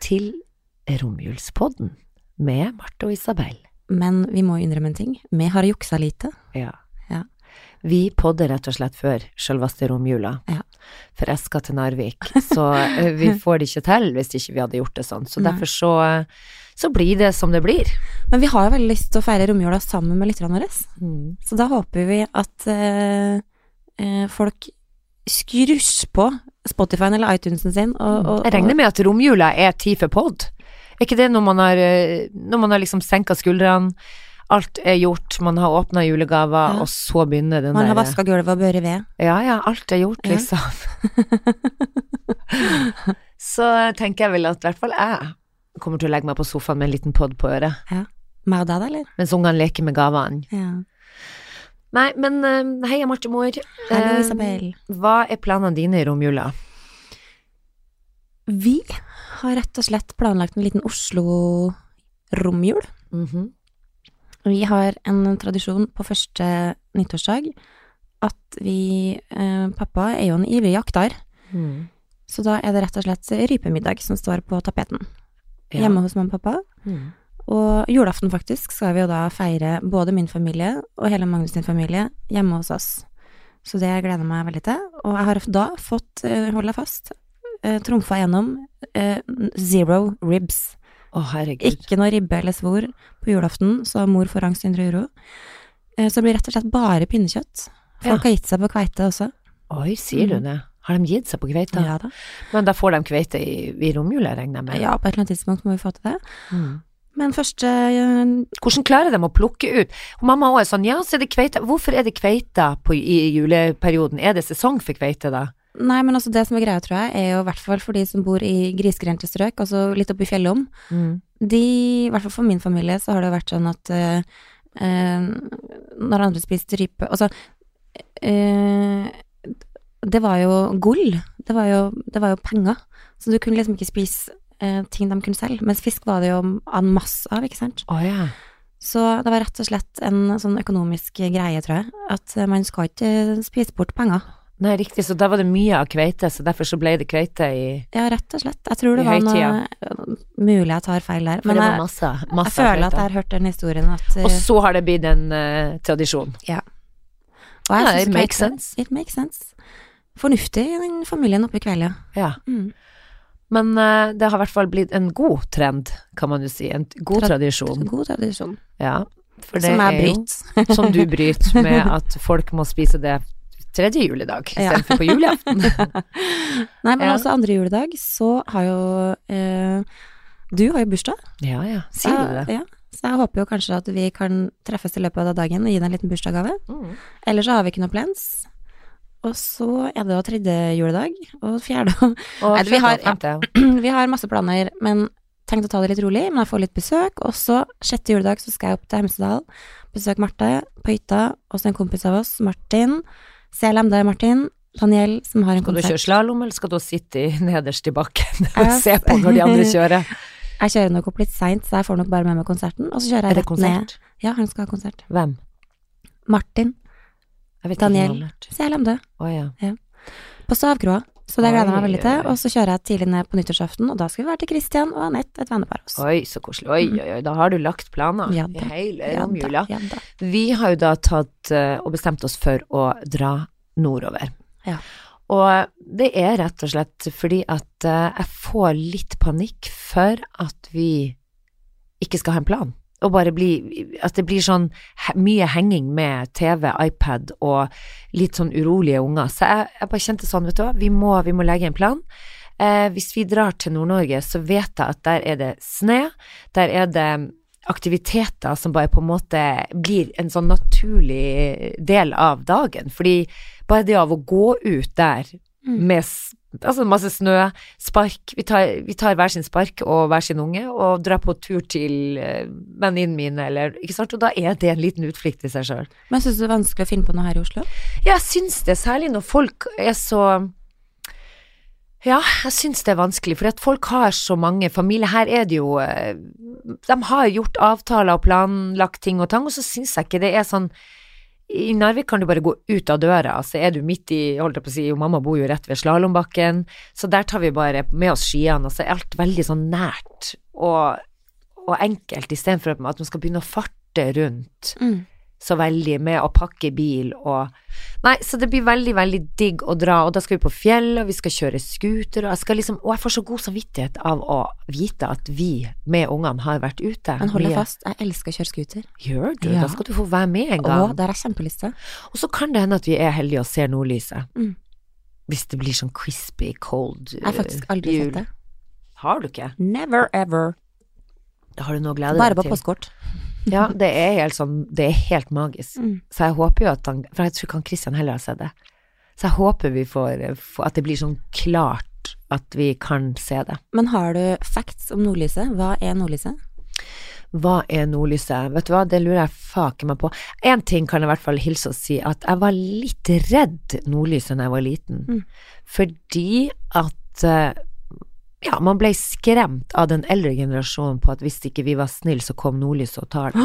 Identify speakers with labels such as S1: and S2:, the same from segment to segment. S1: til romjulspodden med Marte og Isabel.
S2: Men vi må jo innrømme en ting. Vi har juksa lite.
S1: Ja.
S2: Ja.
S1: Vi podder rett og slett før selveste romjula.
S2: Ja.
S1: For jeg skal til Narvik, så eh, vi får det ikke til hvis ikke vi hadde gjort det sånn. Så
S2: Nei.
S1: derfor så, eh, så blir det som det blir.
S2: Men vi har jo veldig lyst til å feire romjula sammen med lytterne våre. Så da håper vi at eh, eh, folk skrus på Spotifyen eller iTunesen sin. Og, og,
S1: Jeg regner med at romjula er tid for pod. Er ikke det når man har, eh, når man har liksom senka skuldrene, alt er gjort, man har åpna julegaver,
S2: Ja.
S1: og så begynner den
S2: og man har
S1: der- eh,
S2: vaska gulvet og børre ved.
S1: Ja, ja, alt er gjort,
S2: Ja.
S1: liksom. så tenker jeg vel at i hvert fall jeg kommer til å legge meg på sofaen med en liten pod på øret,
S2: Meg og deg, da, eller?
S1: mens ungene leker med gavene.
S2: Ja.
S1: Nei, men eh, heia, Marte Moer.
S2: Hallo,
S1: Eh,
S2: Isabel.
S1: Hva er planene dine i romjula?
S2: Vi har rett og slett planlagt en liten Oslo-romjul.
S1: Mhm.
S2: Vi har en tradisjon på første nyttårsdag at vi eh, Pappa er jo en ivrig jakter,
S1: Mm.
S2: så da er det rett og slett rypemiddag som står på tapeten
S1: Ja.
S2: hjemme hos mamma og pappa.
S1: Mm.
S2: Og julaften faktisk skal vi jo da feire både min familie og hele Magnus sin familie hjemme hos oss. Så det gleder jeg meg veldig til. Og jeg har da fått, eh, hold deg fast, eh, trumfa gjennom eh, zero ribs.
S1: Å, herregud.
S2: Ikke noe ribbe eller svor på julaften, så mor får angst i 100 euro. Eh, Så det blir rett og slett bare pinnekjøtt. Folk
S1: Ja.
S2: har gitt seg på kveite også.
S1: Oi, sier du
S2: Mm.
S1: det? Har de gitt seg på kveita?
S2: Ja da.
S1: Men da får de kveite i, i romjula, regner jeg med.
S2: Ja, på et eller annet tidspunkt må vi få til det.
S1: Mm.
S2: Men første eh,
S1: Hvordan klarer de å plukke ut? Og mamma også er sånn, ja, så er det kveita. Hvorfor er det kveita på, i juleperioden? Er det sesong for kveite da?
S2: Nei, men altså det som er greia, tror jeg, er jo i hvert fall for de som bor i grisgrendte strøk, altså litt oppe i fjellom. De, i hvert fall for min familie, så har det jo vært sånn at eh, eh, når andre spiste rype Altså eh, Det var jo gull. Det var jo, det var jo penger. Så du kunne liksom ikke spise eh, ting de kunne selge. Mens fisk var det jo en masse av, ikke sant.
S1: Å ja.
S2: Så det var rett og slett en sånn økonomisk greie, tror jeg. At eh, man skal ikke spise bort penger.
S1: Nei, riktig, så da var det mye av kveite, så derfor så ble det kveite i...
S2: Ja, rett og slett. Jeg tror det
S1: I
S2: var noe Mulig jeg tar feil der. Men jeg,
S1: masse,
S2: jeg føler at jeg har hørt den historien at eh,
S1: Og så har det blitt en eh, tradisjon.
S2: Og jeg
S1: Ja,
S2: synes
S1: it
S2: ikke
S1: makes
S2: helt-
S1: sense.
S2: It makes sense. Fornuftig, den familien oppe i kveld, ja.
S1: Ja.
S2: Mm.
S1: Men eh, det har i hvert fall blitt en god trend, kan man jo si. En god
S2: Tra-
S1: tradisjon.
S2: God tradisjon.
S1: Ja. For det
S2: Som
S1: er
S2: jeg
S1: jo-
S2: bryter.
S1: som du bryter med at folk må spise det tredje juledag istedenfor på julaften.
S2: Nei, men
S1: Ja.
S2: også andre juledag så har jo eh, Du har jo bursdag.
S1: Ja, ja. Ah,
S2: så
S1: Sier du
S2: jeg-
S1: det?
S2: Ja. Så jeg håper jo kanskje at vi kan treffes i løpet av den dagen og gi deg en liten bursdagsgave.
S1: Mm.
S2: Eller så har vi ikke noe plens. Og så er det jo tredje juledag, og fjerde og
S1: Og
S2: Nei, vi har-
S1: sjette og femte.
S2: Mm, Vi har masse planer, men tenkt å ta det litt rolig. Men jeg får litt besøk. Og så sjette juledag så skal jeg opp til Hemsedal, besøke Marte på hytta. Og så en kompis av oss, Martin. CLM, det er Martin. Daniel, som har en
S1: Skal du kjøre
S2: konsert.
S1: slalåm, eller skal du sitte i- nederst i bakken og
S2: Ja.
S1: se på når de andre kjører?
S2: Jeg kjører nok opp litt seint, så jeg får nok bare med meg konserten. Og så kjører
S1: Er
S2: jeg
S1: det
S2: rett ned.
S1: konsert?
S2: Ja, han skal ha konsert.
S1: Hvem?
S2: Martin.
S1: Jeg vet
S2: Daniel.
S1: ikke. hvem han er.
S2: CLM, det.
S1: Å ja.
S2: På Stavkroa. Så det gleder jeg meg
S1: Oi,
S2: veldig til.
S1: oi.
S2: Og så kjører jeg tidlig ned på nyttårsaften, og da skal vi være til Christian og Anette, et vennepar av oss.
S1: Oi, så koselig. Oi, oi, oi. Da har du lagt planer
S2: Ja
S1: i
S2: da.
S1: hele
S2: Ja da,
S1: romjula.
S2: ja da.
S1: Vi har jo da tatt eh, og bestemt oss for å dra nordover.
S2: Ja.
S1: Og det er rett og slett fordi at eh, jeg får litt panikk for at vi ikke skal ha en plan. Og bare bli, at det blir sånn he- mye henging med TV, iPad og litt sånn urolige unger. Så jeg, jeg bare kjente sånn, vet du hva, vi må, vi må legge en plan. Eh, hvis vi drar til Nord-Norge, så vet jeg at der er det snø, der er det aktiviteter som bare på en måte blir en sånn naturlig del av dagen. Fordi bare det av å gå ut der
S2: Mm.
S1: med s- Altså masse snø, spark. Vi tar, vi tar hver sin spark og hver sin unge og drar på tur til eh, venninnen min, eller Ikke sant? Og da er det en liten utflukt i seg sjøl.
S2: Men syns du det er vanskelig å finne på noe her i Oslo?
S1: Ja, jeg syns det, særlig når folk er så Ja, jeg syns det er vanskelig, for at folk har så mange familier. Her er det jo eh, De har gjort avtaler og planlagt ting og tang, og så syns jeg ikke det er sånn I Narvik kan du bare gå ut av døra, så er du midt i holdt jeg på å si, jo, mamma bor jo rett ved slalåmbakken, så der tar vi bare med oss skiene, og så er alt veldig sånn nært og, og enkelt, istedenfor at man skal begynne å farte rundt
S2: Mm.
S1: så veldig med å pakke bil og Nei, så det blir veldig, veldig digg å dra, og da skal vi på fjell, og vi skal kjøre scooter, og jeg skal liksom Og jeg får så god samvittighet av å vite at vi med ungene har vært ute.
S2: Men hold deg
S1: mye.
S2: fast, jeg elsker å kjøre scooter.
S1: Gjør du?
S2: Ja.
S1: Da skal du få være med en
S2: Å,
S1: gang.
S2: der er kjempelyst til.
S1: Og så kan det hende at vi er heldige og ser nordlyset.
S2: Mm.
S1: Hvis det blir sånn crispy, cold eh,
S2: Jeg har faktisk aldri sett det.
S1: Har du ikke?
S2: Never ever.
S1: Da har du noe å glede
S2: Bare
S1: deg
S2: på
S1: til.
S2: postkort.
S1: Ja, det er helt sånn Det er helt magisk.
S2: Mm.
S1: Så jeg håper jo at han For jeg tror ikke han Christian heller har sett det. Så jeg håper vi får får- At det blir sånn klart at vi kan se det.
S2: Men har du facts om nordlyset? Hva er nordlyset?
S1: Hva er nordlyset? Vet du hva, det lurer jeg faken meg på. Én ting kan jeg i hvert fall hilse og si, at jeg var litt redd nordlyset da jeg var liten.
S2: Mm.
S1: Fordi at eh, Ja, man ble skremt av den eldre generasjonen på at hvis ikke vi var snille, så kom nordlyset og tar det.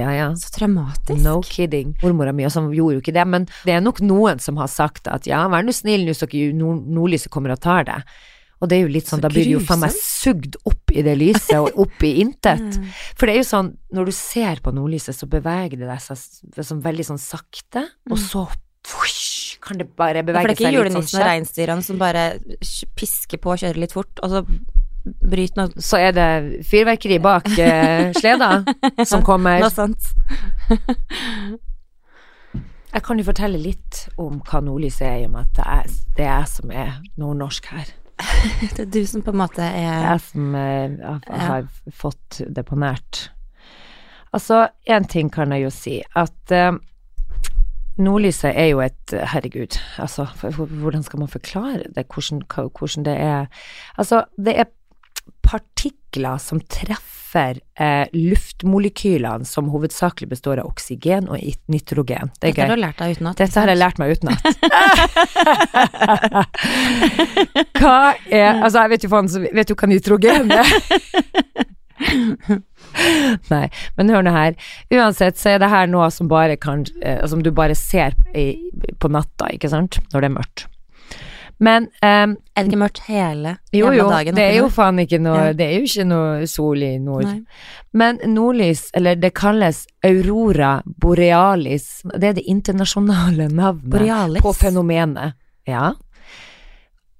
S1: Ja, ja.
S2: Så traumatisk.
S1: No kidding. Mormora mi også gjorde jo ikke det, men det er nok noen som har sagt at ja, vær nå snill nå så ikke nord nordlyset kommer og tar deg. Og det er jo litt sånn,
S2: Så
S1: da blir du jo faen meg sugd opp i det lyset og opp i intet.
S2: Mm.
S1: For det er jo sånn, når du ser på nordlyset, så beveger det deg seg s- sånn veldig sånn sakte, og så fush, kan det bare
S2: Mm. Ja, For
S1: bevege
S2: det er ikke
S1: seg litt sånn
S2: julenissen og
S1: skjevt.
S2: reinsdyrene som bare kj- pisker på og kjører litt fort, og så bryter noe,
S1: Så er det fyrverkeri bak eh, sleda som kommer.
S2: noe sånt.
S1: Jeg kan jo fortelle litt om hva nordlyset er, i og med at det er det er jeg som er nordnorsk her.
S2: Det er du som på en måte er
S1: jeg som eh, har,
S2: Ja.
S1: har fått det på nært. Altså, én ting kan jeg jo si, at eh, nordlyset er jo et Herregud, altså, for- for- hvordan skal man forklare det? Hvordan, hva- hvordan det er Altså, det er partikler som treffer eh, luftmolekylene, som hovedsakelig består av oksygen og i- nitrogen. Det er
S2: Dette
S1: gøy.
S2: har du lært deg utenat.
S1: Dette har jeg lært meg utenat. Hva er Altså, jeg vet jo faen så Vet du hva nitrogen er? Nei, men hør nå her. Uansett så er det her noe som bare kan eh, Som du bare ser i, på natta, ikke sant? Når det er mørkt. Men ehm,
S2: Er det ikke mørkt hele
S1: jo,
S2: jævla
S1: jo,
S2: dagen?
S1: det er jo
S2: oppe
S1: faen ikke noe
S2: Ja.
S1: Det er jo ikke noe sol i
S2: i
S1: nord.
S2: nord? Nei.
S1: Men nordlys, eller det kalles aurora borealis, det er det internasjonale navnet
S2: Borealis.
S1: på fenomenet. Ja.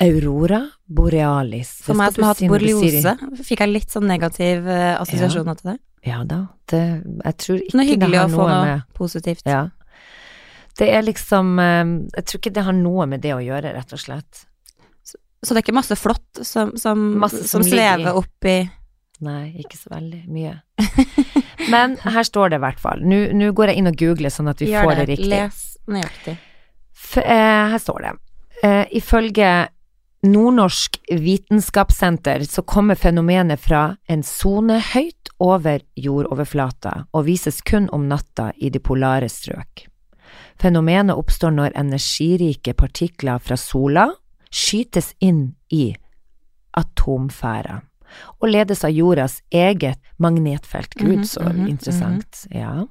S1: Aurora borealis. Det
S2: For meg
S1: skal
S2: som har hatt
S1: du si når du sier
S2: borreliose, fikk jeg litt sånn negativ eh, assosiasjon til det.
S1: det. Ja da, det, jeg tror ikke
S2: Noe
S1: det
S2: hyggelig å
S1: har
S2: få
S1: noe
S2: noe
S1: med
S2: positivt.
S1: Ja. Det er liksom eh, Jeg tror ikke det har noe med det å gjøre, rett og slett.
S2: Så det er ikke masse flått som, som,
S1: Masse som
S2: som,
S1: ligger i.
S2: svever opp i
S1: Nei, ikke så veldig mye. Men her står det i hvert fall. Nå nå går jeg inn og googler, sånn at vi
S2: Gjør
S1: får det riktig.
S2: Les nøyaktig.
S1: F eh, her står det. Eh, ifølge Nordnorsk vitenskapssenter så kommer fenomenet fra en sone høyt over jordoverflata og vises kun om natta i de polare strøk. Fenomenet oppstår når energirike partikler fra sola skytes inn i atomfæra og ledes av jordas eget magnetfelt. Gud,
S2: Mhm,
S1: så
S2: mhm,
S1: interessant. Ja.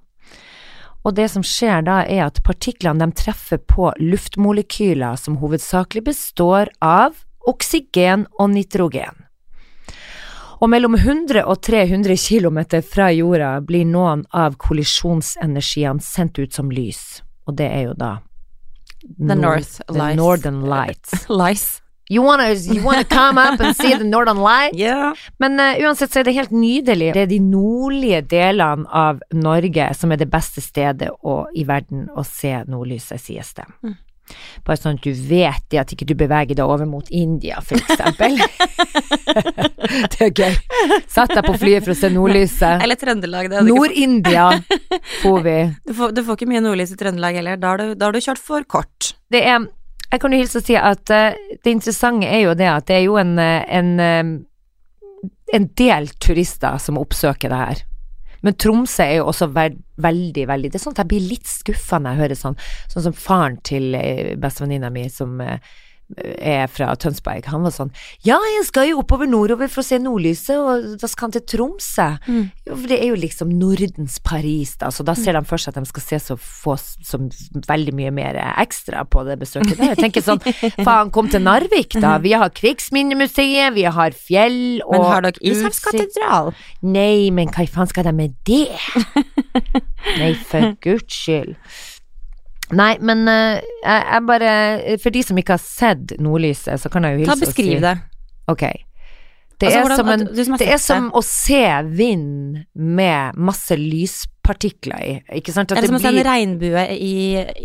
S1: Og det som skjer da, er at partiklene de treffer på luftmolekyler som hovedsakelig består av oksygen og nitrogen. Og mellom 100 og 300 km fra jorda blir noen av kollisjonsenergiene sendt ut som lys, og det er jo da
S2: The North
S1: The
S2: Lights.
S1: Northern Lights.
S2: Lies.
S1: You wanna, you wanna come up and see the Northern Lights?
S2: Yeah.
S1: Men eh, uansett så er det helt nydelig. Det er de nordlige delene av Norge som er det beste stedet å, i verden å se nordlyset, sies det.
S2: Mm.
S1: Bare sånn at du vet det, at ikke du beveger deg over mot India, for eksempel. det er gøy. Satt deg på flyet for å se nordlyset.
S2: Eller Trøndelag. Det hadde ikke
S1: Nord-India får vi.
S2: Du får, du får ikke mye nordlys i Trøndelag heller. Da har du, da har du kjørt for kort.
S1: Det er Jeg kan jo hilse og si at eh, det interessante er jo det at det er jo en, eh, en, eh, en del turister som oppsøker det her. Men Tromsø er jo også ver veldig, veldig Det er sånn at jeg blir litt skuffa når jeg hører sånn. Sånn som faren til eh, bestevenninna mi som eh, er fra Tønsberg, han var sånn Ja, jeg skal jo oppover nordover for å se nordlyset, og da skal han til Tromsø.
S2: Mm.
S1: Jo, for det er jo liksom Nordens Paris, da. Så da ser de for seg at de skal se så få som veldig mye mer ekstra på det besøket der. Jeg tenker sånn, faen, kom til Narvik, da. Vi har Krigsminnemuseet, vi har fjell og
S2: Mm. Men har dere Ishavs
S1: utsikt.
S2: katedral?
S1: Nei, men hva i faen skal de med det? Nei, for guds skyld. Nei, men eh, jeg, jeg bare For de som ikke har sett nordlyset, så kan jeg jo
S2: Ta
S1: hilse og si
S2: beskriv det.
S1: Ok. Det
S2: Altså,
S1: er
S2: hvordan-
S1: som en
S2: du som har
S1: det
S2: sett
S1: er som å se vind med masse lyspartikler i, ikke sant? At
S2: Er det som å
S1: det
S2: se en sånn
S1: blir
S2: regnbue i,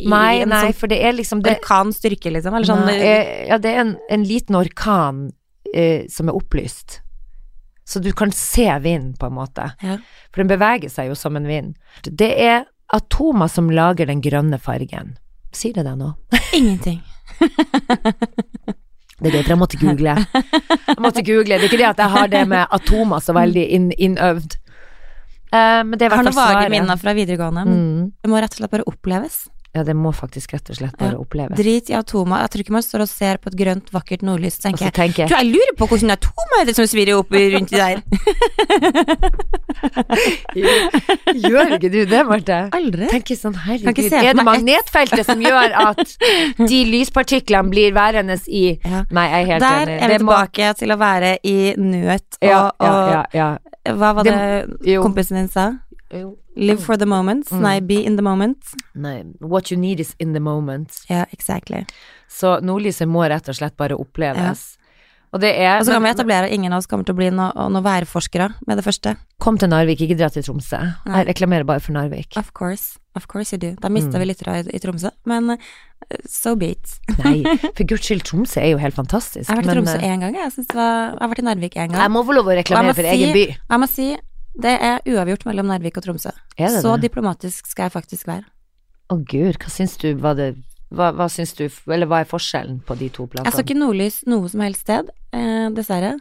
S2: i
S1: Nei,
S2: en
S1: nei,
S2: sånn
S1: for det er liksom det,
S2: orkanstyrke, liksom? Eller sånn
S1: nei, eh, Ja, det er en, en liten orkan eh, som er opplyst. Så du kan se vinden, på en måte.
S2: Ja.
S1: For den beveger seg jo som en vind. Det er atomer som lager den grønne fargen. Sier det deg noe?
S2: Ingenting.
S1: Det er greit, for jeg måtte google. Jeg måtte google. Det er ikke det at jeg har det med atomer så veldig inn, innøvd. Eh, men det er
S2: Jeg har
S1: i hvert
S2: noen
S1: fall
S2: vage
S1: svaret.
S2: minner fra videregående, men
S1: Mm.
S2: det må rett og slett bare oppleves.
S1: Ja, det må faktisk rett og slett bare
S2: Ja.
S1: oppleves.
S2: Drit i atomer. Jeg tror ikke man står og ser på et grønt, vakkert nordlys og
S1: Og så
S2: tenker jeg,
S1: tenker
S2: jeg tror
S1: jeg
S2: jeg lurer på hvordan atomer er det som svirrer opp rundt i der.
S1: Gjør ikke du det, Marte?
S2: Aldri.
S1: Tenker sånn,
S2: Kan ikke
S1: herregud,
S2: se for
S1: er det
S2: meg et-
S1: magnetfeltet som gjør at de lyspartiklene blir værende i
S2: Ja.
S1: Nei, jeg er helt
S2: Der
S1: enig.
S2: er vi
S1: Det må-
S2: tilbake til å være i nøt og,
S1: Ja, ja, ja, ja.
S2: og Hva var det,
S1: Det- jo.
S2: kompisen din sa?
S1: Jo.
S2: Live for the moment.
S1: Mm.
S2: Nei, be in the moment.
S1: Nei, what you need is in the moment.
S2: Ja, exactly.
S1: Så nordlyset må rett og slett bare oppleves. Og det er
S2: Og så kan vi
S1: men-
S2: etablere at ingen av oss kommer til å bli noen noe værforskere med det første.
S1: Kom til Narvik, ikke dra til Tromsø.
S2: Nei.
S1: Jeg reklamerer bare for Narvik.
S2: Of course. Of course you do. Da mista
S1: Mm.
S2: vi lyttere i, i Tromsø, men eh, so be it.
S1: Nei, for guds skyld, Tromsø er jo helt fantastisk.
S2: Jeg har vært i
S1: men,
S2: Tromsø
S1: eh,
S2: én gang, jeg. synes det var, jeg har vært i Narvik én gang.
S1: jeg må få lov å
S2: Og jeg må
S1: reklamere for egen by.
S2: si- Jeg må si det er uavgjort mellom Narvik og Tromsø.
S1: Er det
S2: Så
S1: det?
S2: diplomatisk skal jeg faktisk være.
S1: Å gud, hva syns du var det hva, hva syns du, eller hva er forskjellen på de to plantene?
S2: Jeg så ikke nordlys noe som helst sted, eh, dessverre.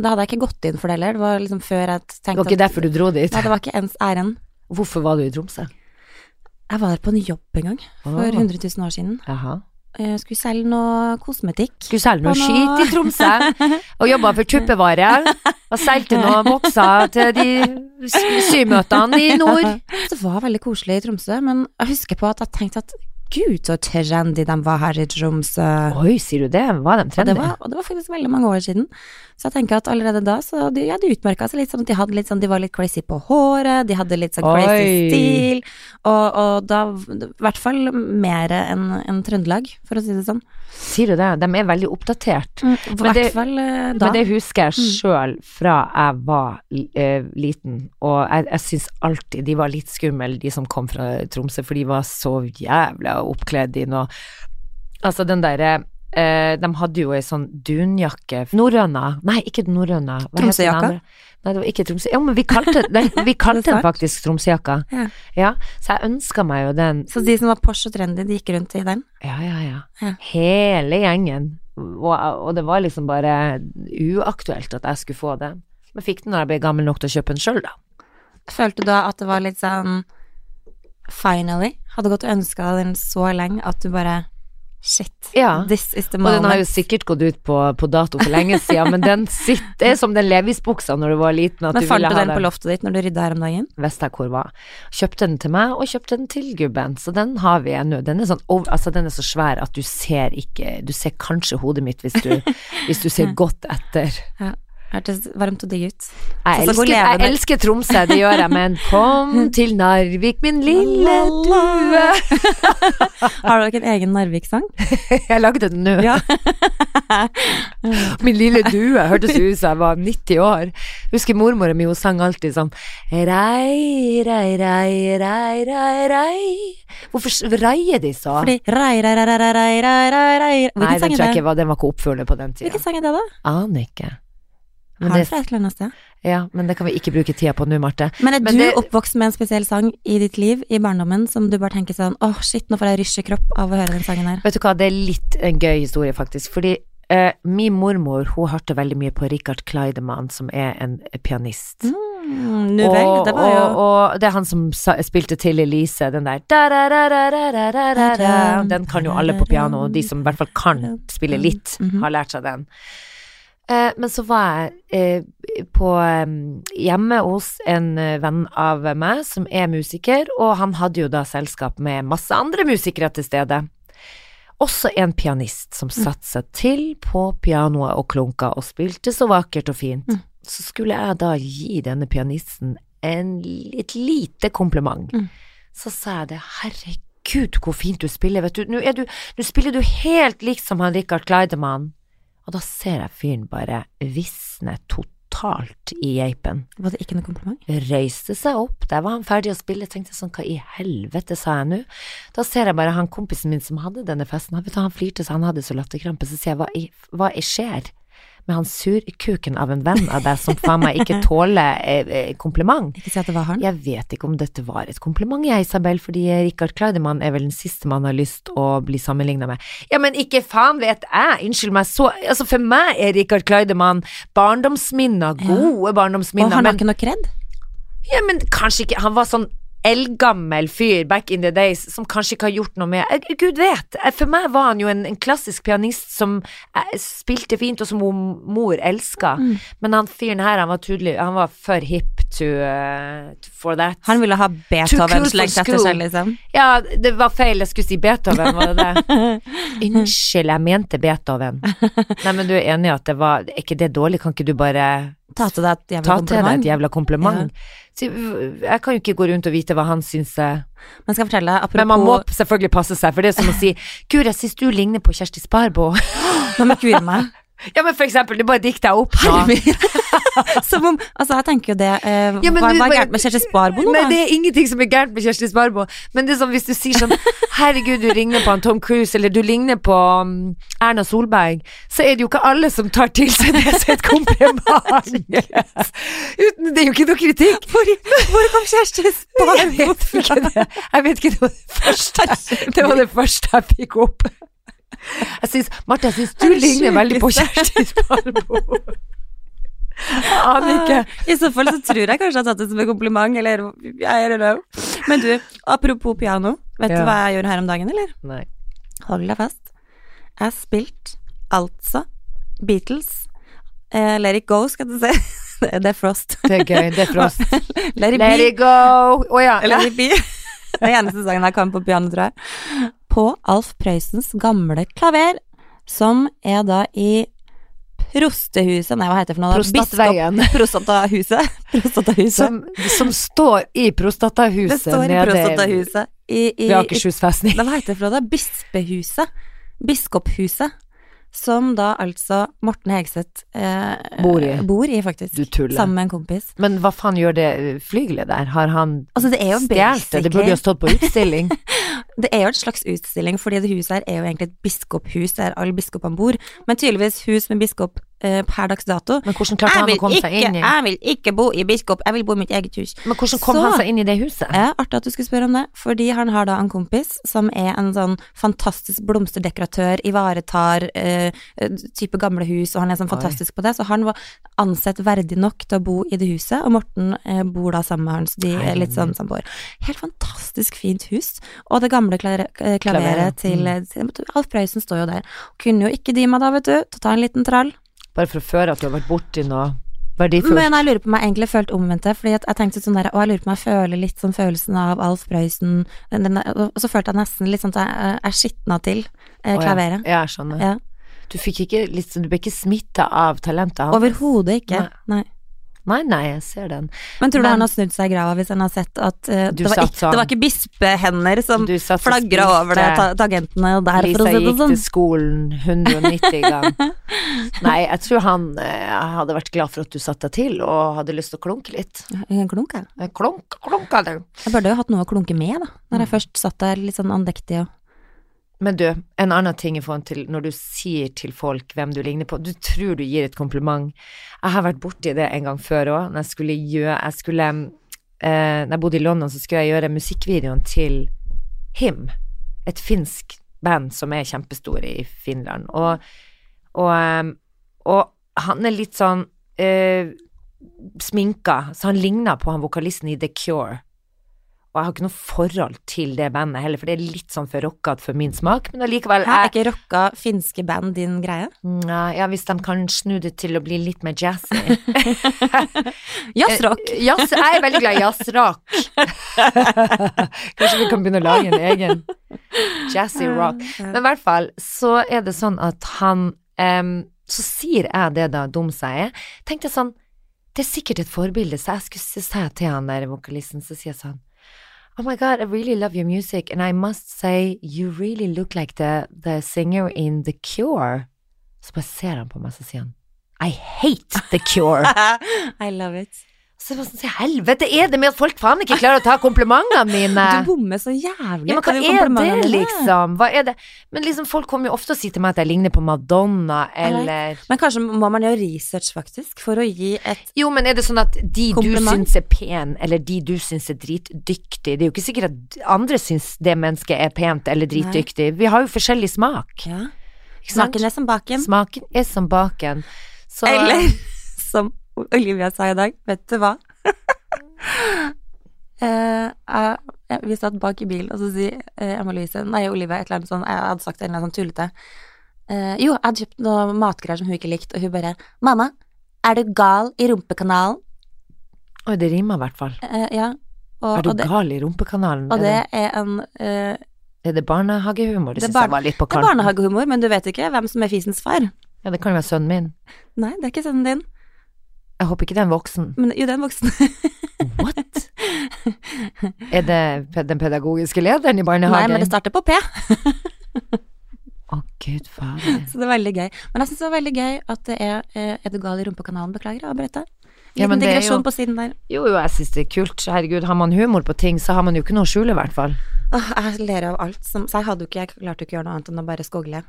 S2: Da hadde jeg ikke gått inn for det heller. Det var liksom før jeg tenkte
S1: det var ikke
S2: at-
S1: derfor du dro dit.
S2: Nei, det var ikke ens ærend.
S1: Hvorfor var du i Tromsø?
S2: Jeg var der på en jobb en gang, for
S1: Ah.
S2: 100 000 år siden.
S1: Jaha.
S2: Jeg skulle selge noe kosmetikk.
S1: Skulle selge noe
S2: Å, nå.
S1: skit i Tromsø, og jobba for tuppevare. Og solgte noen bokser til de sy- symøtene i nord.
S2: Det var veldig koselig i Tromsø, men jeg husker på at jeg tenkte at gud, så trendy de var her i Tromsø.
S1: Oi, sier du det? Var de
S2: Og det,
S1: trendy?
S2: var, og det var faktisk veldig mange år siden. Så jeg tenker at allerede da, så de, ja, de utmerka seg litt sånn at de hadde litt sånn, de var litt crazy på håret, de hadde litt sånn crazy
S1: Oi.
S2: stil, og, og da, i hvert fall mer enn enn Trøndelag, for å si det sånn.
S1: Sier du det? De er veldig oppdatert.
S2: I
S1: Mm, Men
S2: hvert
S1: det-
S2: fall eh, da.
S1: Men det husker jeg sjøl fra jeg var eh, liten, og jeg, jeg syns alltid de var litt skumle, de som kom fra Tromsø, for de var så jævla oppkledd i noe Altså den derre eh, De hadde jo ei sånn dunjakke Norrøna. Nei, ikke norrøna. Hva heter den
S2: Tromsøjakka?
S1: andre? Nei, det var ikke Tromsø... Jo, men vi kalte den, vi kalte den
S2: sant?
S1: faktisk Tromsøjakka.
S2: Ja.
S1: ja. Så jeg ønska meg jo den
S2: Så de som var Porsche og trendy, de gikk rundt i den?
S1: ja, ja, ja.
S2: Ja.
S1: Hele gjengen. Og, og det var liksom bare uaktuelt at jeg skulle få den. Men fikk den når jeg ble gammel nok til å kjøpe den sjøl, da.
S2: Følte du da at det var litt sånn Finally. Hadde gått og ønska den så lenge at du bare Shit.
S1: Ja.
S2: This is the
S1: Og
S2: moment.
S1: den har jo sikkert gått ut på, på dato for lenge siden, men den sitter det er som den Levis-buksa når du var liten. At
S2: Men
S1: du
S2: fant
S1: ville
S2: du
S1: ha
S2: den på loftet ditt når du rydda her om dagen?
S1: Visste jeg hvor var. Kjøpte den til meg, og kjøpte den til gubben, så den har vi ennå. Den er sånn over, altså den er så svær at du ser ikke Du ser kanskje hodet mitt hvis du, hvis du ser godt etter.
S2: Ja. Hørtes varmt og digg ut.
S1: Jeg
S2: Så- så går
S1: elsker, jeg
S2: levende-
S1: elsker Tromsø, det gjør jeg, men kom til Narvik, min lille due.
S2: Har dere en egen Narvik-sang?
S1: Jeg lagde den nå.
S2: Ja.
S1: Min lille due hørtes ut som jeg var 90 år. Husker mormoren min, hun sang alltid sånn Rei, rei, rei, rei, rei, rei. Hvorfor s- reier de så?
S2: Fordi rei, rei, rei, rei, rei, rei, rei, rei.
S1: Nei,
S2: Hvilken
S1: den
S2: sang
S1: tror
S2: er
S1: jeg
S2: det?
S1: ikke var, den var ikke oppførende på den tida.
S2: Hvilken sang er det, da?
S1: Aner ikke. Men
S2: Har
S1: det,
S2: det fra et eller annet sted.
S1: ja, men det kan vi ikke bruke tida på nå, Marte.
S2: Men er
S1: Men
S2: du
S1: det-
S2: oppvokst med en spesiell sang i ditt liv, i barndommen, som du bare tenker sånn åh, shit, nå får jeg rysj i kropp av å høre den sangen her.
S1: Vet du hva, det er litt en gøy historie, faktisk. Fordi eh, min mormor hun hørte veldig mye på Richard Kleidemann, som er en pianist.
S2: Mm, nu vel, det var jo
S1: og, og det er han som sa, spilte til Elise, den der da-ra-ra-ra-ra-ra-ra-ra. Den kan jo alle på piano, og de som i hvert fall kan spille litt,
S2: Mhm.
S1: har lært seg den. Eh, men så var jeg eh, på, eh, hjemme hos en eh, venn av meg som er musiker, og han hadde jo da selskap med masse andre musikere til stede. Også en pianist som satte seg til på pianoet og klunka og spilte så vakkert og fint så skulle jeg da gi denne pianisten en, et lite kompliment.
S2: Mm.
S1: Så sa jeg det, herregud hvor fint du spiller, vet du, nå, er du, nå spiller du helt liksom han Richard Kleidemann. Og da ser jeg fyren bare visne totalt i geipen.
S2: Var det ikke noe kompliment?
S1: Røyste seg opp, der var han ferdig å spille, tenkte jeg sånn, hva i helvete sa jeg nå? Da ser jeg bare han kompisen min som hadde denne festen, han, vet du, han flirte så han hadde så latterkrampe, så sier jeg, hva, i, hva i skjer med han surkuken av en venn av deg som faen meg ikke tåler eh, eh, kompliment?
S2: Ikke si at det var han.
S1: Jeg vet ikke om dette var et kompliment, jeg, Isabel, fordi Richard Kleidemann er vel den siste man har lyst å bli sammenligna med. Ja, men ikke faen vet jeg, unnskyld meg, så Altså, for meg er Richard Kleidemann barndomsminner, gode
S2: og
S1: barndomsminner,
S2: han har
S1: men
S2: ikke noe kred?
S1: ja, men kanskje ikke Han var sånn eldgammel fyr back in the days som kanskje ikke har gjort noe med Eh, Gud vet! eh, For meg var han jo en, en klassisk pianist som eh, spilte fint, og som mo- mor elska.
S2: Mm.
S1: Men han fyren her, han var tydelig Han var for hip to eh, to- for that.
S2: Han ville ha
S1: Too
S2: Beethoven
S1: cool for
S2: slengt etter
S1: school.
S2: seg, liksom.
S1: Ja, det var feil. Jeg skulle si Beethoven, var det det? Unnskyld, jeg mente Beethoven. Nei, men du er enig i at det var Er ikke det dårlig? Kan ikke du bare
S2: Ta til deg et jævla
S1: ta til deg
S2: kompliment.
S1: et jævla kompliment. Så Jeg kan jo ikke gå rundt og vite hva han eh, syns er
S2: Men skal jeg fortelle deg, apropos
S1: Men man må selvfølgelig passe seg, for det er som å si Gud, jeg syns du ligner på Kjersti Sparboe.
S2: Nå må jeg kure meg.
S1: ja, men for eksempel, det bare dikter jeg opp nå.
S2: Herregud. Som om Altså, jeg tenker jo det eh,
S1: Ja, men
S2: Hva
S1: du
S2: hva er
S1: bare-
S2: gærent med Kjersti Sparbo nå,
S1: Nei,
S2: da?
S1: det er ingenting som er gærent med Kjersti Sparboe, men det er sånn hvis du sier sånn Herregud, du ligner på han Tom Cruise, eller du ligner på mm, Erna Solberg, så er det jo ikke alle som tar til seg det som et kompliment. Uten, det er jo ikke noe kritikk.
S2: Hvor, hvor kom Kjersti
S1: Jeg vet ikke det. Jeg vet ikke det var det første. Det var det første jeg fikk opp. Jeg synes, Marte, jeg syns du
S2: Er liksom? det
S1: ligner veldig på
S2: sjukeste?
S1: Kjersti Sparboe. Jeg aner ikke.
S2: I så fall så tror jeg kanskje jeg har tatt det som en kompliment, eller I don't know. Men du, apropos piano. Vet
S1: Ja.
S2: du hva jeg gjorde her om dagen, eller?
S1: Nei.
S2: Hold deg fast. Jeg spilte altså Beatles. Eh, let it go, skal du se. Det det er Frost.
S1: Det er gøy. Det er frost.
S2: Let it
S1: Let
S2: be.
S1: it go. Å ja.
S2: Let it be. Det er eneste sangen jeg kan på piano, tror jeg. På Alf Prøysens gamle klaver, som er da i Prostehuset Nei, hva heter det for noe? da?
S1: Prostatveien.
S2: Biskop- Prostatahuset. Prostatahuset.
S1: Som, som står i
S2: Det
S1: prostatahuset
S2: står i
S1: nede
S2: Prostatahuset. I, i,
S1: ved Akershus festning.
S2: Nei, Hva heter det for noe? da? Bispehuset. Biskophuset. Som da altså Morten Hegseth eh,
S1: Bor i.
S2: bor i, faktisk.
S1: Du tuller.
S2: Sammen med en kompis.
S1: Men hva faen gjør det flygelet der? Har han
S2: Altså, det er jo
S1: stjålet det? Det burde
S2: basically-
S1: jo ha stått på utstilling.
S2: Det er jo et slags utstilling, fordi det huset her er jo egentlig et biskophus der alle biskopene bor. Men tydeligvis hus med biskop eh, per dags dato.
S1: Men hvordan klarte
S2: Jeg
S1: han å
S2: vil,
S1: komme
S2: ikke,
S1: seg inn i
S2: jeg vil ikke bo i biskop, jeg vil bo i mitt eget hus.
S1: Men hvordan kom
S2: Så-
S1: han seg inn i det huset?
S2: Ja, artig at du skulle spørre om det, fordi han har da en kompis som er en sånn fantastisk blomsterdekoratør, ivaretar eh, type gamle hus, og han er sånn
S1: Oi.
S2: fantastisk på det, så han var ansett verdig nok til å bo i det huset, og Morten eh, bor da sammen med han, så de er litt sånn samboer. Helt fantastisk fint hus, og det gamle klare- eh,
S1: Klaveret, mm.
S2: klaveret til, til Alf Prøysen står jo der. Kunne jo ikke de meg da, vet du, til å ta en liten trall.
S1: Bare for å føre at du har vært borti noe verdifullt.
S2: Men jeg lurer på om jeg egentlig følte omvendt det, fordi at jeg tenkte sånn der, og jeg lurer på om jeg føler litt sånn følelsen av Alf Prøysen, den, den, og så følte jeg nesten litt sånn at jeg er skitna til eh,
S1: Å, ja.
S2: klaveret.
S1: Ja, jeg skjønner.
S2: Ja.
S1: Du, fikk ikke, litt sånn- du ble ikke smitta av talentet hans?
S2: Overhodet ikke. Nei.
S1: Nei, nei, jeg ser den.
S2: Men tror du
S1: Men-
S2: han har snudd seg i grava hvis han har sett at eh,
S1: Du
S2: det, var
S1: satt
S2: ikke,
S1: sånn.
S2: det var ikke bispehender som
S1: Du satt og
S2: flagra
S1: spilte.
S2: over det, ta, tagentene der, for å
S1: Lisa
S2: si det
S1: gikk
S2: sånn.
S1: til skolen 190 gang. Nei, jeg tror han eh, hadde vært glad for at du satte deg til og hadde lyst til å klunke litt.
S2: Jeg klunk, jeg.
S1: Eh, Klunk, klunka du.
S2: Mm. Jeg burde jo hatt noe å klunke med, da, når jeg først satt der litt sånn andektig og
S1: Men du, en annen ting i forhold til når du sier til folk hvem du ligner på, du tror du gir et kompliment. Jeg har vært borti det en gang før òg, når jeg skulle gjøre jeg skulle, eh, Når jeg bodde i London, så skulle jeg gjøre musikkvideoen til Him, et finsk band som er kjempestor i Finland. Og, og, eh, og han er litt sånn eh, sminka, så han ligner på han vokalisten i The Cure. Og jeg har ikke noe forhold til det bandet heller, for det er litt sånn for rockete for min smak, men
S2: Hæ,
S1: allikevel
S2: er
S1: jeg,
S2: ikke rocka finske band din greie?
S1: Nja, Ja, hvis de kan snu det til å bli litt mer jazzy.
S2: Jazzrock!
S1: Eh, Jazz, jeg er veldig glad i jazzrock. Kanskje vi kan begynne å lage en egen jazzy rock.
S2: Ja.
S1: Men i hvert fall så er det sånn at han em, Så sier jeg det da, dum som jeg er. Tenkte jeg sånn Det er sikkert et forbilde, så jeg skulle si si til han der vokalisten, så sier jeg sånn Oh my god, I really love your music, and I must say you really look like the, the singer in The Cure. Så bare ser han på meg, så sier han I hate The Cure.
S2: I love it.
S1: Så jeg bare sånn, helvete er det med at folk faen ikke klarer å ta komplimentene mine?
S2: Du bommer så jævlig.
S1: Eh, Ja, men
S2: Ta
S1: hva
S2: de
S1: er
S2: komplimentene.
S1: det, liksom? Hva er det? Men liksom, folk kommer jo ofte og sier til meg at jeg ligner på Madonna, eller
S2: Men kanskje må man gjøre research, faktisk, for å gi et
S1: Jo, men er det sånn at de
S2: Kompliment?
S1: du syns er pen, eller de du syns er dritdyktig Det er jo ikke sikkert at andre syns det mennesket er pent eller dritdyktig. Vi har jo forskjellig smak.
S2: ja.
S1: Ikke sant?
S2: Smaken er som baken.
S1: Smaken er som baken. Så
S2: Eller som Olivia sa i dag, vet du hva? Eh, eh, vi satt bak i bilen, og så sier eh, Emma Louise Nei, Olivia, et eller annet sånn Jeg hadde sagt en eller annen sånn tullete. Eh, jo, jeg hadde kjøpt noe matgreier som hun ikke likte, og hun bare Mamma, er du gal i rumpekanalen?
S1: Oi, det rimer i hvert fall.
S2: Eh, ja.
S1: Er
S2: Og,
S1: du
S2: og, det,
S1: gal i rumpekanalen?
S2: og det
S1: er,
S2: er en eh,
S1: det, er det barnehagehumor? Det,
S2: Det er
S1: synes
S2: barne-
S1: jeg var litt på
S2: Det er
S1: kanten.
S2: barnehagehumor, men du vet ikke hvem som er fisens far.
S1: Ja, det kan jo være sønnen min.
S2: Nei, det er ikke sønnen din.
S1: Jeg håper ikke det er en voksen.
S2: Men jo, det er en voksen.
S1: What? er det pe- den pedagogiske lederen i
S2: Nei,
S1: barnehagen?
S2: men det starter på P.
S1: Å, gud fader.
S2: Så det er veldig gøy. Men jeg syns det er veldig gøy at det er eh, Er du gal i rumpekanalen? Beklager, jeg avbrøt deg. Liten
S1: Ja, men det er
S2: digresjon
S1: jo-
S2: på siden der.
S1: Jo, jo, jeg syns det er kult. Herregud, har man humor på ting, så har man jo ikke noe å skjule, i hvert fall.
S2: Åh, jeg ler av alt. Som, så jeg hadde jo ikke Jeg klarte jo ikke å gjøre noe annet enn å bare skogle.
S1: Ja, ja.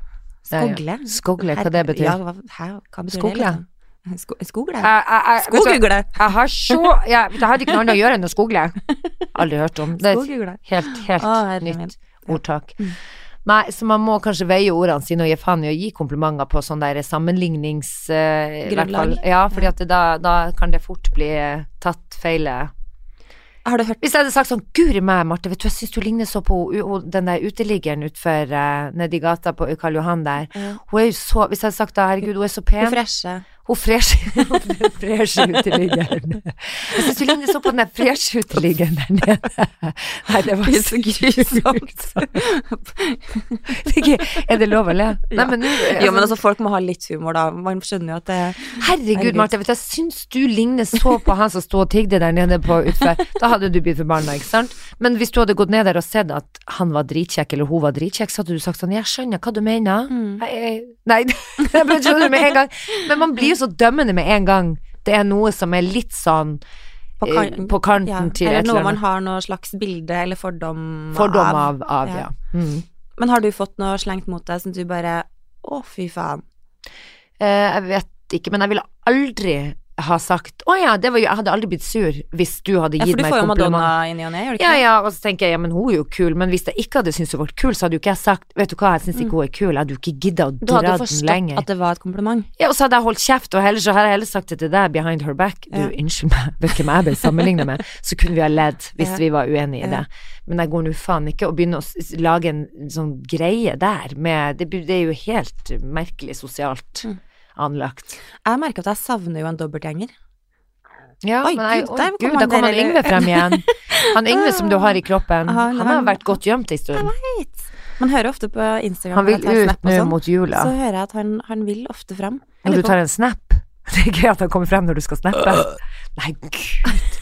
S2: Skogle?
S1: Skogle, hva det betyr?
S2: Ja, hva, hæ, hva betyr
S1: Skogle? Eh,
S2: det?
S1: altså,
S2: Liksom? Sko, skogle?
S1: Jeg, jeg, jeg, vet du hva,
S2: Skogugle!
S1: jeg har så Jeg, jeg hadde ikke noe annet å gjøre enn å skogle. Aldri hørt om. Det er et
S2: Skogugle.
S1: helt, helt
S2: Å, herre min.
S1: nytt ordtak. Nei, så man må kanskje veie ordene sine og gi faen i å gi komplimenter på sånn der sammenlignings... eh, i hvert
S2: Grunnlag.
S1: fall. Ja, fordi at det, da, da kan det fort bli eh, tatt feile
S2: Har du hørt
S1: Hvis jeg hadde sagt sånn Guri meg, Marte, vet du, jeg syns du ligner så på hun- hun- den der uteliggeren utfor uh, nedi gata på Karl Johan der.
S2: Ja.
S1: Hun er jo så Hvis jeg hadde sagt da, herregud, hun er så pen.
S2: Hun freshe.
S1: Hun fresh, hun fresh uteliggeren. Jeg syns du ligner så på den der fresh uteliggeren der nede. Nei, det var så grusomt. er det lov å le? Nei,
S2: Ja.
S1: men nå
S2: Jo, men altså, folk må ha litt humor, da. Man skjønner jo at det
S1: Herregud,
S2: Herregud.
S1: Marte, vet du, jeg syns du ligner så på han som sto og tigde der nede på utfor. Da hadde du blitt forbanna, ikke sant? Men hvis du hadde gått ned der og sett at han var dritkjekk, eller hun var dritkjekk, så hadde du sagt sånn, jeg skjønner hva du mener.
S2: Mm.
S1: Jeg, jeg, nei, jeg ble skjønner med en gang. Men man blir jo så dømmende med en gang. Det er noe som er litt sånn
S2: På
S1: eh,
S2: kan-
S1: på kanten
S2: ja,
S1: til
S2: Eller
S1: et
S2: noe
S1: eller
S2: man
S1: annet.
S2: har noe slags bilde eller fordom
S1: Fordom av, av ja.
S2: Ja.
S1: Mm.
S2: Men har du fått noe slengt mot deg som du bare Å, fy faen.
S1: Eh, jeg vet ikke, men jeg ville aldri ha sagt Å ja, det var jo Jeg hadde aldri blitt sur hvis du hadde
S2: Ja, for
S1: gitt
S2: du
S1: meg
S2: får jo
S1: kompliment.
S2: Madonna i ny og ne, gjør du
S1: Ja,
S2: ikke?
S1: ja, og så tenker jeg, ja, men hun er jo kul, men hvis jeg ikke hadde syntes hun var kul, så hadde jo ikke jeg sagt, vet du hva, jeg syns ikke hun er kul, jeg hadde jo ikke gidda å
S2: Mm. Du hadde jo
S1: dra den
S2: forstått
S1: lenger.
S2: at det var et kompliment.
S1: Ja, og så hadde jeg holdt kjeft, og heller så hadde jeg heller sagt det til deg behind her back, du,
S2: Ja.
S1: unnskyld meg, vet du hvem jeg ble sammenlignet med, så kunne vi ha ledd hvis
S2: Ja.
S1: vi var uenige i
S2: Ja.
S1: det. Men jeg går nå faen ikke og begynner å s- lage en sånn greie der med Det, blir- det er jo helt merkelig sosialt
S2: Mm.
S1: anlagt.
S2: Jeg merker at jeg savner jo en dobbeltgjenger.
S1: Ja,
S2: Oi,
S1: men jeg,
S2: Gud,
S1: oi,
S2: der
S1: Gud,
S2: kom
S1: da
S2: han der,
S1: kom
S2: Ah,
S1: han Yngve frem igjen. Han Yngve som du har i kroppen,
S2: Han-
S1: han har
S2: han-
S1: vært godt gjemt en stund.
S2: Right. Man hører ofte på Instagram
S1: Han vil
S2: at jeg tar
S1: ut
S2: snap og
S1: nå
S2: sånn,
S1: mot jula.
S2: Så hører jeg at han, han vil ofte fram. Jeg
S1: Når du
S2: lurer på- Øh.
S1: tar en snap. Det er gøy at han kommer frem når du skal snappe. Nei, gud.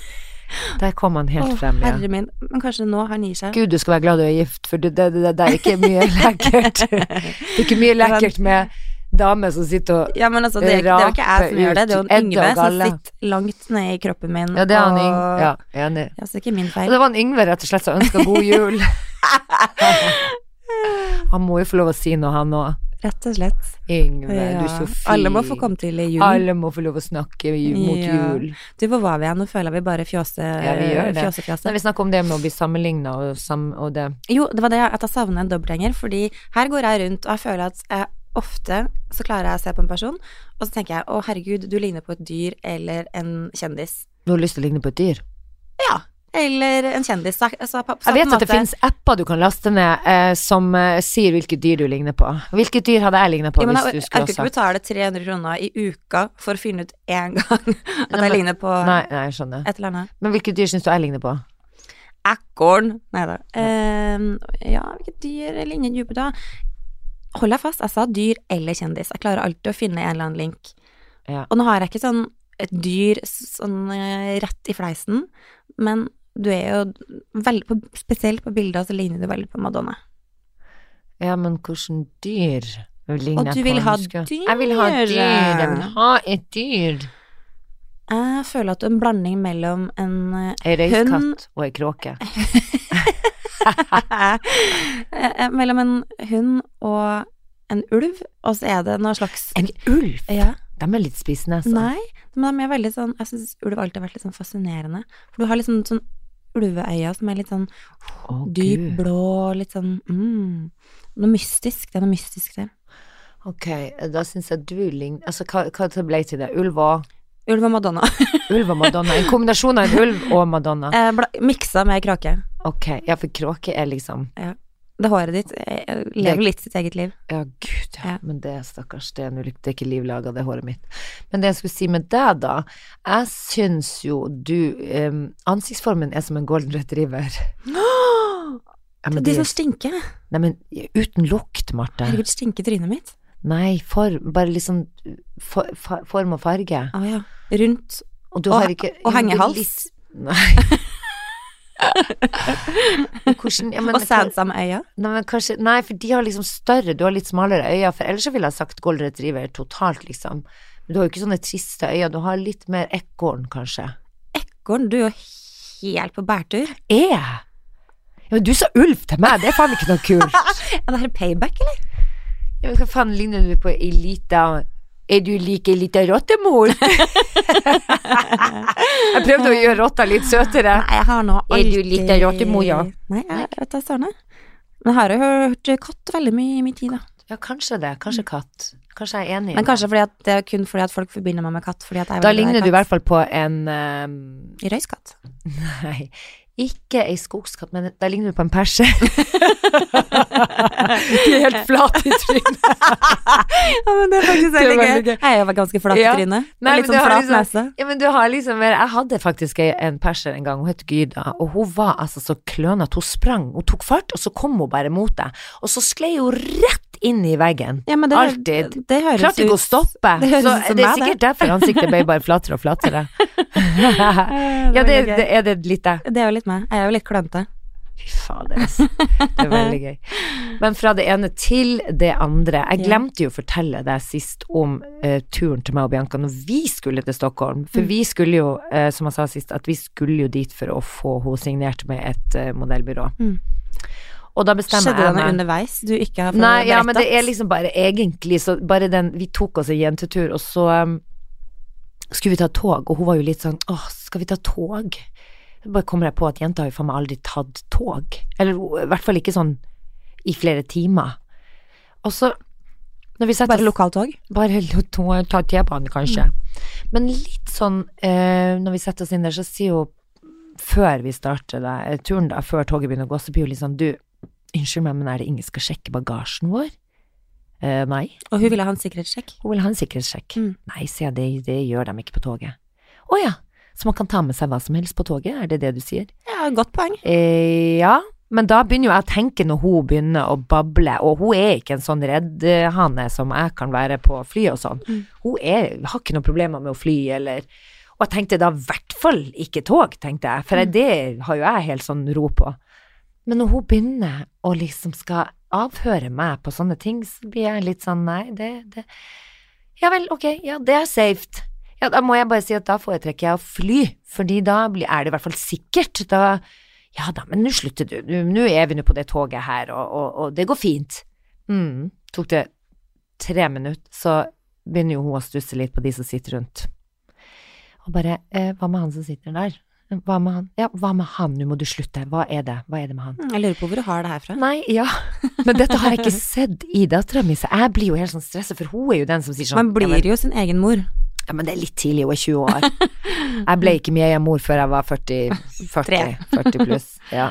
S1: Der kom han helt
S2: Å,
S1: frem igjen.
S2: herre min. Men kanskje nå han gir seg.
S1: Gud, du skal være glad du er gift, for det, det, det, det er ikke mye lekkert. Det er ikke mye lekkert med damer som sitter og
S2: Ja, men altså, det er, ikke- det er jo ikke jeg som
S1: Rape
S2: gjør det, det er jo
S1: ut
S2: en
S1: Edda
S2: Yngve
S1: og
S2: som
S1: Galle.
S2: sitter langt ned i kroppen min.
S1: Ja, det er han
S2: og-
S1: Yngve. Ja, enig.
S2: Ja, så det er ikke min
S1: Og
S2: feil.
S1: det var han Yngve, rett og slett, som ønska god jul. Han må jo få lov å si noe, han òg.
S2: Rett og slett.
S1: Yngve, du er
S2: Ja.
S1: så fin.
S2: Alle må få komme til i julen.
S1: Alle må få lov å snakke i- mot
S2: Ja.
S1: jul.
S2: Du, hvor var vi igjen? Nå føler jeg vi bare fjåse,
S1: Ja, vi gjør det.
S2: fjåsefjase.
S1: Nei, vi snakker om det med å bli sammenligna og, sam og det.
S2: Jo, det var det at jeg savner en dobbeltgjenger, fordi her går jeg rundt og jeg føler at jeg ofte så klarer jeg å se på en person, og så tenker jeg å herregud, du ligner på et dyr eller en kjendis.
S1: Du har lyst til å ligne på et dyr.
S2: Eller en kjendis. Så, så på, på
S1: Jeg vet
S2: samme
S1: at
S2: måte-
S1: det finnes apper du kan laste ned eh, som eh, sier hvilket dyr du ligner på. Hvilket dyr hadde jeg lignet på
S2: Ja, men jeg
S1: hvis du
S2: jeg orker
S1: skulle ha
S2: ikke
S1: sagt
S2: betale 300 kroner i uka for å finne ut én gang at
S1: Nei, men-
S2: jeg ligner på
S1: Nei, nei, jeg skjønner.
S2: et eller annet.
S1: Men hvilket dyr syns du jeg ligner på?
S2: Ekorn. Nei da. Ehm, ja, hvilket dyr ligner du på da? Hold deg fast, jeg sa dyr eller kjendis. Jeg klarer alltid å finne en eller annen link.
S1: Ja.
S2: Og nå har jeg ikke sånn et dyr sånn eh, rett i fleisen, men du er jo veldig på, Spesielt på bilder så ligner du veldig på Madonna.
S1: Ja, men hvilket dyr ligner
S2: Og du
S1: jeg på?
S2: vil ha
S1: Husker jeg? Jeg vil ha et dyr. Jeg vil ha et dyr.
S2: Jeg føler at du er en blanding mellom en eh,
S1: Ei
S2: Hun-
S1: røyskatt og ei kråke.
S2: Eh, Mellom en hund og en ulv, og så er det noe slags
S1: En ulv!
S2: ja.
S1: De er litt spisende, altså.
S2: Nei, men de er veldig sånn Jeg syns ulv alltid har vært litt sånn fascinerende. For du har litt sånn, sånn ulveøyne som er litt sånn
S1: Å,
S2: dyp
S1: Gud.
S2: blå, litt sånn mm, Noe mystisk. Det er noe mystisk der.
S1: Ok, da syns jeg du ligner Altså, hva, hva det ble til det? Ulv og
S2: Ulv og Madonna.
S1: Ulv og Madonna. En kombinasjon av en ulv og Madonna.
S2: Eh, bla, miksa med krake.
S1: Ok, ja, for kråke er liksom
S2: Det håret ditt eh, lever litt sitt eget liv.
S1: Ja, gud, ja.
S2: Ja.
S1: Men det, stakkars, det er en ulykke. Det er ikke liv laga, det håret mitt. Men det jeg skulle si med deg, da Jeg syns jo du em, Ansiktsformen er som en golden retriever. Ja, men
S2: De
S1: det-
S2: som stinker.
S1: Nei, men uten lukt, Marte.
S2: Herregud, stinker trynet mitt.
S1: Nei, form, bare liksom for, fa- form og farge.
S2: Å ja. Rundt.
S1: Og du
S2: Og-
S1: har ikke
S2: og
S1: Ah, jo, det er
S2: hengehals.
S1: litt- Nei. Men Hvordan, ja, men,
S2: Og Sandsam-øya.
S1: Nei, men kanskje, nei, for de har liksom større, du har litt smalere øyne, for ellers så ville jeg sagt gold retriever totalt, liksom. Men du har jo ikke sånne triste øyne, du har litt mer ekorn, kanskje.
S2: Ekorn, du er jo helt på bærtur.
S1: Er jeg? Eh? Ja, men du sa ulv til meg, det er faen ikke noe kult.
S2: Er det her payback, eller?
S1: Ja, men hva faen ligner du på ei lita Er du like ei lita rottemor? jeg prøvde å gjøre rotta litt søtere.
S2: Nei, jeg har nå
S1: Er du litt av rottemor, ja?
S2: Nei, jeg vet da søren. jeg. Men jeg har jo hørt katt veldig mye i min tid, da.
S1: Ja, kanskje det. Kanskje katt. Kanskje jeg er enig. i
S2: Men
S1: det.
S2: kanskje fordi at det er kun fordi at folk forbinder meg med katt. Fordi at jeg er
S1: Da
S2: veldig glad
S1: ligner
S2: i
S1: du i hvert fall på en ehm,
S2: katt. Røyskatt.
S1: Nei, ikke ei skogskatt, men da ligner du på en perser. du er helt flat i trynet.
S2: Ja, men det er faktisk
S1: Det er
S2: veldig
S1: veldig
S2: gøy. Jeg er jo ganske flat i
S1: Ja.
S2: trynet.
S1: Nei,
S2: Og
S1: men
S2: litt
S1: det
S2: sånn
S1: har
S2: flat
S1: liksom-
S2: nese.
S1: Ja, men du har liksom mer Jeg hadde faktisk ei- en perser en gang, hun het Gyda, og hun var altså så klønete. Hun sprang, hun tok fart, og så kom hun bare mot deg, og så sklei hun rett inn i veggen.
S2: Ja, men det,
S1: Alltid.
S2: Det høres
S1: Klarte ikke å
S2: ut
S1: stoppe.
S2: det høres
S1: så
S2: ut som
S1: det er
S2: meg,
S1: sikkert derfor ansiktet ble bare flatere og flatere.
S2: Eh,
S1: ja, det,
S2: var
S1: det
S2: gøy.
S1: er det litt deg.
S2: det er jo litt meg. Jeg er jo litt klønete.
S1: Fy fader, altså. Det er veldig gøy. Men fra det ene til det andre. Jeg
S2: Ja.
S1: glemte jo å fortelle deg sist om eh, turen til meg og Bianca når vi skulle til Stockholm.
S2: Mm.
S1: For vi skulle jo, eh, som jeg sa sist, at vi skulle jo dit for å få henne signert med et eh, modellbyrå.
S2: Mm.
S1: Og da bestemmer
S2: Skjedde det
S1: jeg
S2: noe
S1: meg
S2: underveis du ikke har fått
S1: Nei, ja, men det er
S2: berettet?
S1: liksom bare egentlig så bare den Vi tok oss en jentetur, og så um, skulle vi ta tog, og hun var jo litt sånn Åh, skal vi ta tog? Så bare kommer jeg på at jenta har jo faen meg aldri tatt tog. Eller hun- i hvert fall ikke sånn i flere timer. Og så når vi setter
S2: Bare lokaltog?
S1: bare lo- to- ta T-banen, kanskje. Men litt sånn eh, Når vi setter oss inn der, så sier hun før vi starter da, eh, turen, da, før toget begynner å gå, så blir hun litt sånn Du, unnskyld meg, men er det ingen som skal sjekke bagasjen vår? Eh, nei.
S2: Og hun ville ha en sikkerhetssjekk.
S1: Hun vil ha en sikkerhetssjekk.
S2: Mm.
S1: Nei, sier jeg, det, det gjør de ikke på toget. Å ja, så man kan ta med seg hva som helst på toget, er det det du sier?
S2: Ja, godt poeng.
S1: Eh, ja, men da begynner jo jeg å tenke når hun begynner å bable, og hun er ikke en sånn reddhane som jeg kan være på fly og sånn.
S2: Mm.
S1: Hun er, har ikke noen problemer med å fly, eller Og jeg tenkte da i hvert fall ikke tog, tenkte jeg, for
S2: Mm.
S1: det har jo jeg helt sånn ro på. Men når hun begynner å liksom skal avhøre meg på sånne ting, så blir jeg litt sånn nei, det, det Ja vel, ok, ja, det er safe. Ja, da må jeg bare si at da foretrekker jeg å fly, fordi da blir, er det i hvert fall sikkert. Da Ja da, men nå slutter du. Nå nå er vi nå på det toget her, og, og, og det går fint. Mm. Tok det tre minutter, så begynner jo hun å stusse litt på de som sitter rundt. Og bare eh, Hva med han som sitter der? Hva med han? Ja, hva med han? Nå må du slutte. Hva er det? Hva er det med han?
S2: Jeg lurer på hvor du har det her fra.
S1: Nei, ja. Men dette har jeg ikke sett i dattera mi, så jeg blir jo helt sånn stressa, for hun er jo den som sier sånn
S2: Man
S1: ja, men-
S2: blir jo sin egen mor.
S1: ja, men det er litt tidlig, hun er 20 år. Jeg ble ikke Mieia-mor før jeg var 40, 40, 40 pluss. Ja.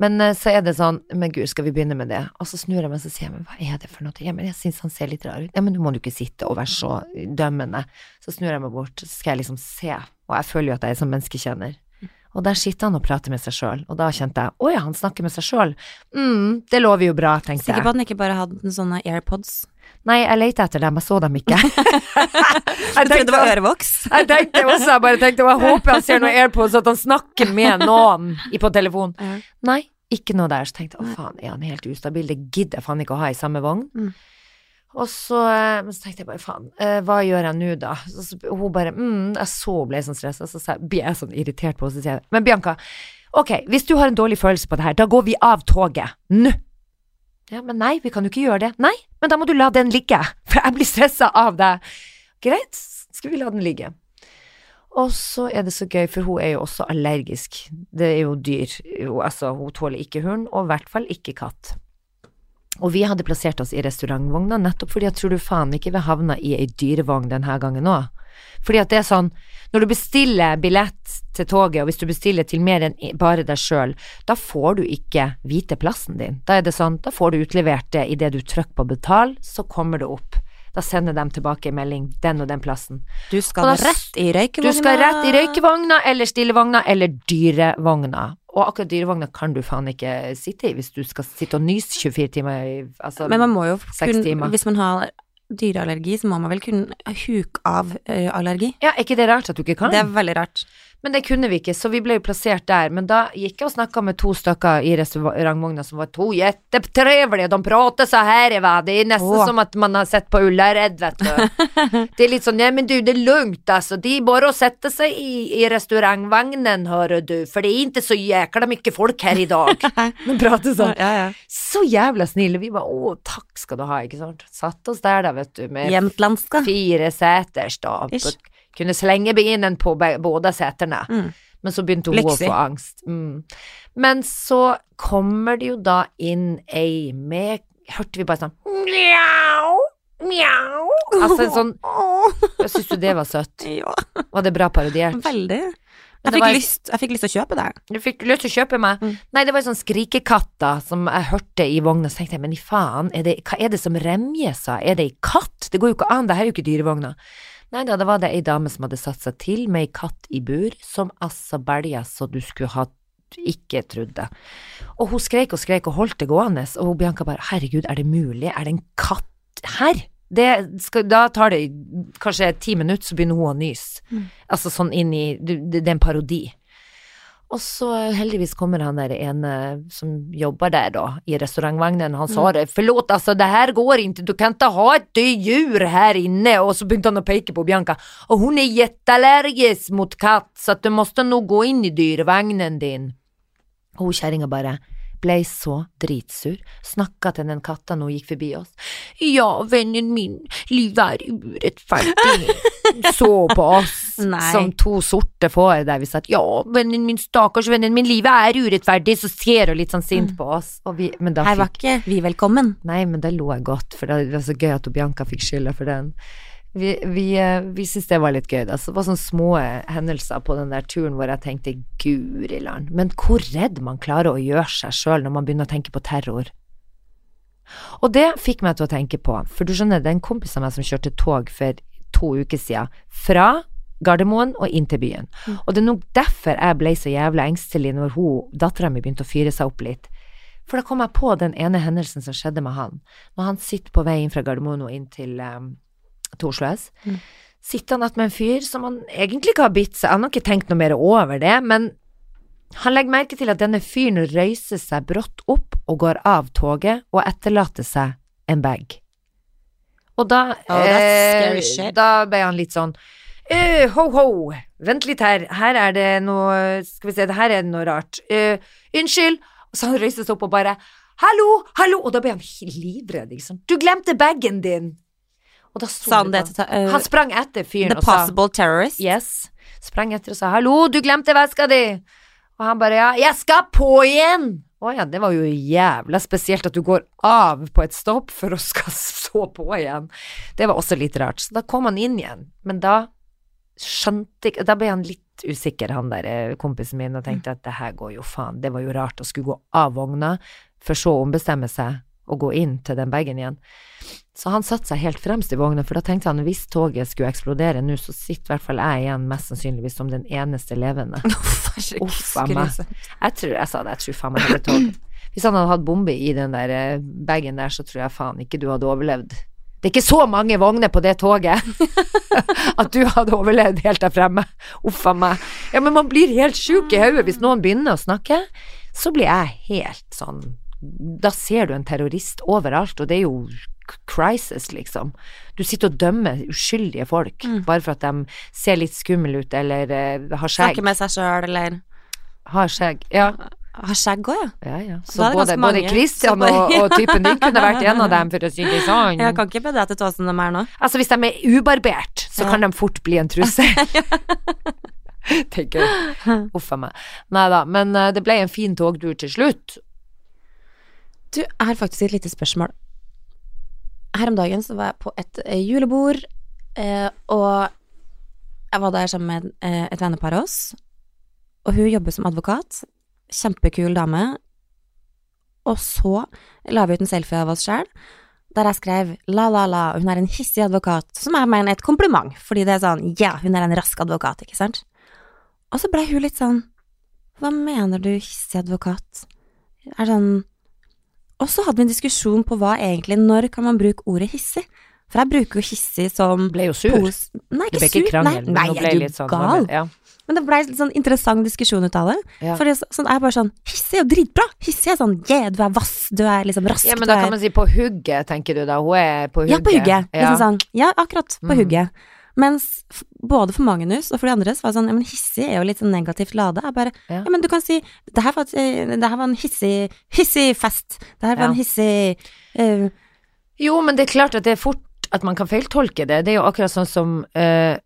S1: Men eh, så er det sånn, men gud, skal vi begynne med det? Og så snur jeg meg og sier, jeg, men hva er det for noe? Ja, men jeg synes han ser litt rar ut. Ja, men du må jo ikke sitte og være så dømmende. Så snur jeg meg bort, så skal jeg liksom se, og jeg føler jo at jeg er som menneskekjenner. Og der sitter han og prater med seg selv, og da kjente jeg, åja, han snakker med seg selv. Mm, det lover jo bra, tenkte jeg.
S2: Sikker på at den ikke bare hadde sånne airpods.
S1: Nei, jeg lette etter dem, jeg så dem ikke. jeg
S2: Jeg trodde
S1: tenkte,
S2: det var ørevoks.
S1: jeg tenkte også, jeg bare tenkte, jeg håper han ser noen airpods, at han snakker med noen i- på telefon.
S2: Ja.
S1: Nei, ikke noe der. Så tenkte jeg, å faen, er han helt ustabil? Det gidder jeg faen ikke å ha i samme vogn.
S2: Mm.
S1: Og så, eh, men så tenkte jeg bare, faen, eh, hva gjør jeg nå da? Så, så, hun bare, mm, jeg så ble sånn stresset, så sa jeg- blir jeg sånn irritert på henne, så sier jeg, men Bianca, ok, hvis du har en dårlig følelse på det her, da går vi av toget, nå. Ja, men nei, vi kan jo ikke gjøre det. Nei, men da må du la den ligge, for jeg blir stressa av deg. Greit, skal vi la den ligge. Og så er det så gøy, for hun er jo også allergisk. Det er jo dyr. Hun, altså, hun tåler ikke hund, og i hvert fall ikke katt. Og vi hadde plassert oss i restaurantvogna nettopp fordi jeg tror du faen ikke vi havna i ei dyrevogn denne gangen òg. Fordi at det er sånn, når du bestiller billett til toget, og hvis du bestiller til mer enn i- bare deg sjøl, da får du ikke vite plassen din. Da er det sånn, da får du utlevert det idet du trykker på betal, så kommer det opp. Da sender de tilbake en melding, den og den plassen.
S2: Du skal
S1: Og da s-
S2: rett i røykevogna.
S1: Du skal rett i røykevogna eller stillevogna eller dyrevogna. Og akkurat dyrevogna kan du faen ikke sitte i hvis du skal sitte og nyse 24 timer i altså,
S2: Men man må jo
S1: Seks timer.
S2: kunne Hvis man har dyreallergi, så må man vel kunne huke av ø, allergi.
S1: Ja, er ikke det rart at du ikke kan?
S2: Det er veldig rart.
S1: Men det kunne vi ikke, så vi ble jo plassert der. Men da gikk jeg og snakka med to stykker i restaurantvogna som var to kjempetrivelige, de prater så her i vei, det er nesten
S2: Åh.
S1: som at man har sett på Ullared, vet du. det er litt sånn, nei men du, det er lugnt, altså, de er bare å sette seg i, i restaurantvognen, hører du, for det er ikke så jækla mye folk her i dag. De prater sånn.
S2: Ja, ja.
S1: Så jævla snille, vi bare å, takk skal du ha, ikke sant. Satt oss der da, vet du, med
S2: Jämtlandska.
S1: fire seters da.
S2: Ish.
S1: Kunne slenge benen på be- båda setene.
S2: Mm.
S1: Men så begynte hun
S2: Lyxig.
S1: å få angst. Mm. Men så kommer det jo da inn ei med Hørte vi bare sånn Mjau! Mjau! Altså en sånn
S2: Åh,
S1: Jeg syns jo det var søtt.
S2: ja,
S1: Var det bra parodiert?
S2: veldig.
S1: Men
S2: Jeg
S1: det
S2: fikk,
S1: var-
S2: lyst, jeg fikk lyst til å kjøpe det.
S1: Du fikk lyst til å kjøpe meg.
S2: Mm.
S1: Nei, det var en sånn skrikekatt da, som jeg hørte i vogna, så tenkte jeg, men i faen, er det, hva er det som remjer seg? Er det ei katt? Det går jo ikke an, det her er jo ikke dyrevogna. Nei da, det var det ei dame som hadde satt seg til med ei katt i bur, som altså belja så du skulle ha ikke trodde. Og hun skreik og skreik og holdt det gående, og hun Bianca bare, herregud, er det mulig, er det en katt her? Det skal, da tar det kanskje ti minutter, så begynner hun å nyse.
S2: Mm.
S1: Altså sånn inn i, det, det er en parodi. Og så heldigvis kommer han der ene som jobber der da, i restaurantvognen. Han sa det, forlåt altså, det her går ikke, du kan ikke ha et dødt dyr her inne. Og så begynte han å peke på Bianca, og hun er kjempeallergisk mot katt, så at du måtte nå gå inn i dyrevognen din. Og hun kjerringa bare blei så dritsur, snakka til den katta når hun gikk forbi oss. Ja, vennen min, livet er urettferdig. Så på oss
S2: Nei.
S1: som to sorte får der vi satt. Ja, vennen min, stakkars vennen min, livet er urettferdig. Så ser hun litt sånn sint på oss. Og vi, men da
S2: Her
S1: fikk
S2: var ikke vi velkommen.
S1: Nei, men da lo jeg godt, for det var så gøy at Bianca fikk skylda for den. Vi, vi, eh, vi syntes det var litt gøy, da. Så det var sånne små eh, hendelser på den der turen hvor jeg tenkte guri land. Men hvor redd man klarer å gjøre seg sjøl når man begynner å tenke på terror. Og det fikk meg til å tenke på, for du skjønner, det er en kompis av meg som kjørte tog for to uker siden fra Gardermoen og inn til byen. Og det er nok derfor jeg ble så jævla engstelig når hun, dattera mi begynte å fyre seg opp litt. For da kom jeg på den ene hendelsen som skjedde med han. Når han sitter på vei inn fra Gardermoen og inn til, um, til Oslo S,
S2: Mm.
S1: sitter han attmed en fyr som han egentlig ikke har bitt seg. Han har ikke tenkt noe mer over det, men han legger merke til at denne fyren røyser seg brått opp og går av toget og etterlater seg en bag. Og da,
S2: Oh, that's scary shit.
S1: da ble han litt sånn Eh, ho, ho, vent litt her. Her er det noe Skal vi se, det her er det noe rart. Eh, unnskyld. Og så han røyste seg opp og bare Hallo, hallo. Og da ble han livredd, ikke sant. Du glemte bagen din. Og da så
S2: Sa han
S1: du
S2: det
S1: på
S2: til ta- eh,
S1: Han sprang etter fyren
S2: The
S1: og sa
S2: Possible Terrorist.
S1: Yes. Sprang etter og sa 'hallo, du glemte veska di'. Og han bare 'ja, jeg skal på igjen'. Å ja, det var jo jævla spesielt at du går av på et stopp for å skal så på igjen. Det var også litt rart. Så da kom han inn igjen. Men da skjønte ikke Da ble han litt usikker, han der eh, kompisen min, og tenkte at det her går jo faen. Det var jo rart å skulle gå av vogna, for så å ombestemme seg og gå inn til den bagen igjen. Så han satte seg helt fremst i vogna, for da tenkte han hvis toget skulle eksplodere nå, så sitter i hvert fall jeg igjen mest sannsynligvis som den eneste levende. Uff, a meg. Jeg tror jeg sa det, jeg tror faen meg hele toget. Hvis han hadde hatt bombe i den der eh, bagen der, så tror jeg faen ikke du hadde overlevd. Det er ikke så mange vogner på det toget at du hadde overlevd helt der fremme. Uff a meg. Ja, men man blir helt sjuk i hodet hvis noen begynner å snakke. Så blir jeg helt sånn Da ser du en terrorist overalt, og det er jo k- crisis, liksom. Du sitter og dømmer uskyldige folk
S2: Mm.
S1: bare for at de ser litt skumle ut eller eh, har skjegg.
S2: Snakke med seg sjøl, eller
S1: Har skjegg. Ja.
S2: Har skjegg òg, ja.
S1: Ja, ja. Så
S2: Da er det ganske
S1: både, både
S2: mange.
S1: Christian
S2: Så bare-
S1: og, og typen din kunne vært en av dem, for å si det sånn.
S2: Jeg kan ikke be deg til å ta som de er nå.
S1: Altså, hvis de er ubarbert, så
S2: Ja.
S1: kan de fort bli en trussel. Tenker jeg. Uff a meg. Nei da, men eh, det ble en fin togtur til slutt.
S2: Du, jeg har faktisk et lite spørsmål. Her om dagen så var jeg på et eh, julebord, eh, og jeg var der sammen med eh, et vennepar av oss. Og hun jobber som advokat. Kjempekul dame. Og så la vi ut en selfie av oss sjøl, der jeg skrev la, la, la, hun er en hissig advokat, som jeg mener er et kompliment, fordi det er sånn ja, hun er en rask advokat, ikke sant? Og så blei hun litt sånn hva mener du, hissig advokat? Er sånn og så hadde vi en diskusjon på hva egentlig, når kan man bruke ordet hissig? For jeg bruker jo hissig som
S1: Ble jo sur.
S2: pos- Nei,
S1: Det
S2: ikke
S1: ble ikke
S2: sur.
S1: krangel, men
S2: nei,
S1: hun
S2: nei,
S1: ble
S2: er du
S1: litt sånn
S2: gal?
S1: Ja.
S2: Men det blei litt sånn interessant diskusjon ut av det.
S1: Ja.
S2: For det er så- sånn, jeg er bare sånn Hissig er jo dritbra! Hissig er sånn yeah, du er vass, du er liksom rask,
S1: ja, men da
S2: du er
S1: kan man si på hugget, tenker du da. Hun er på hugget.
S2: Ja, på hugget.
S1: Ja.
S2: Liksom sånn, ja, akkurat. På
S1: Mm.
S2: hugget. Mens f- både for Magnus og for de andre så var det sånn, ja, men hissig er jo litt sånn negativt lade. Jeg bare, ja.
S1: Ja.
S2: men du kan si, det her var, et, eh, det her var en hissig, hissig fest. Det her var
S1: Ja.
S2: en hissig eh,
S1: Jo, men det er klart at det er fort at man kan feiltolke det. Det er jo akkurat sånn som eh,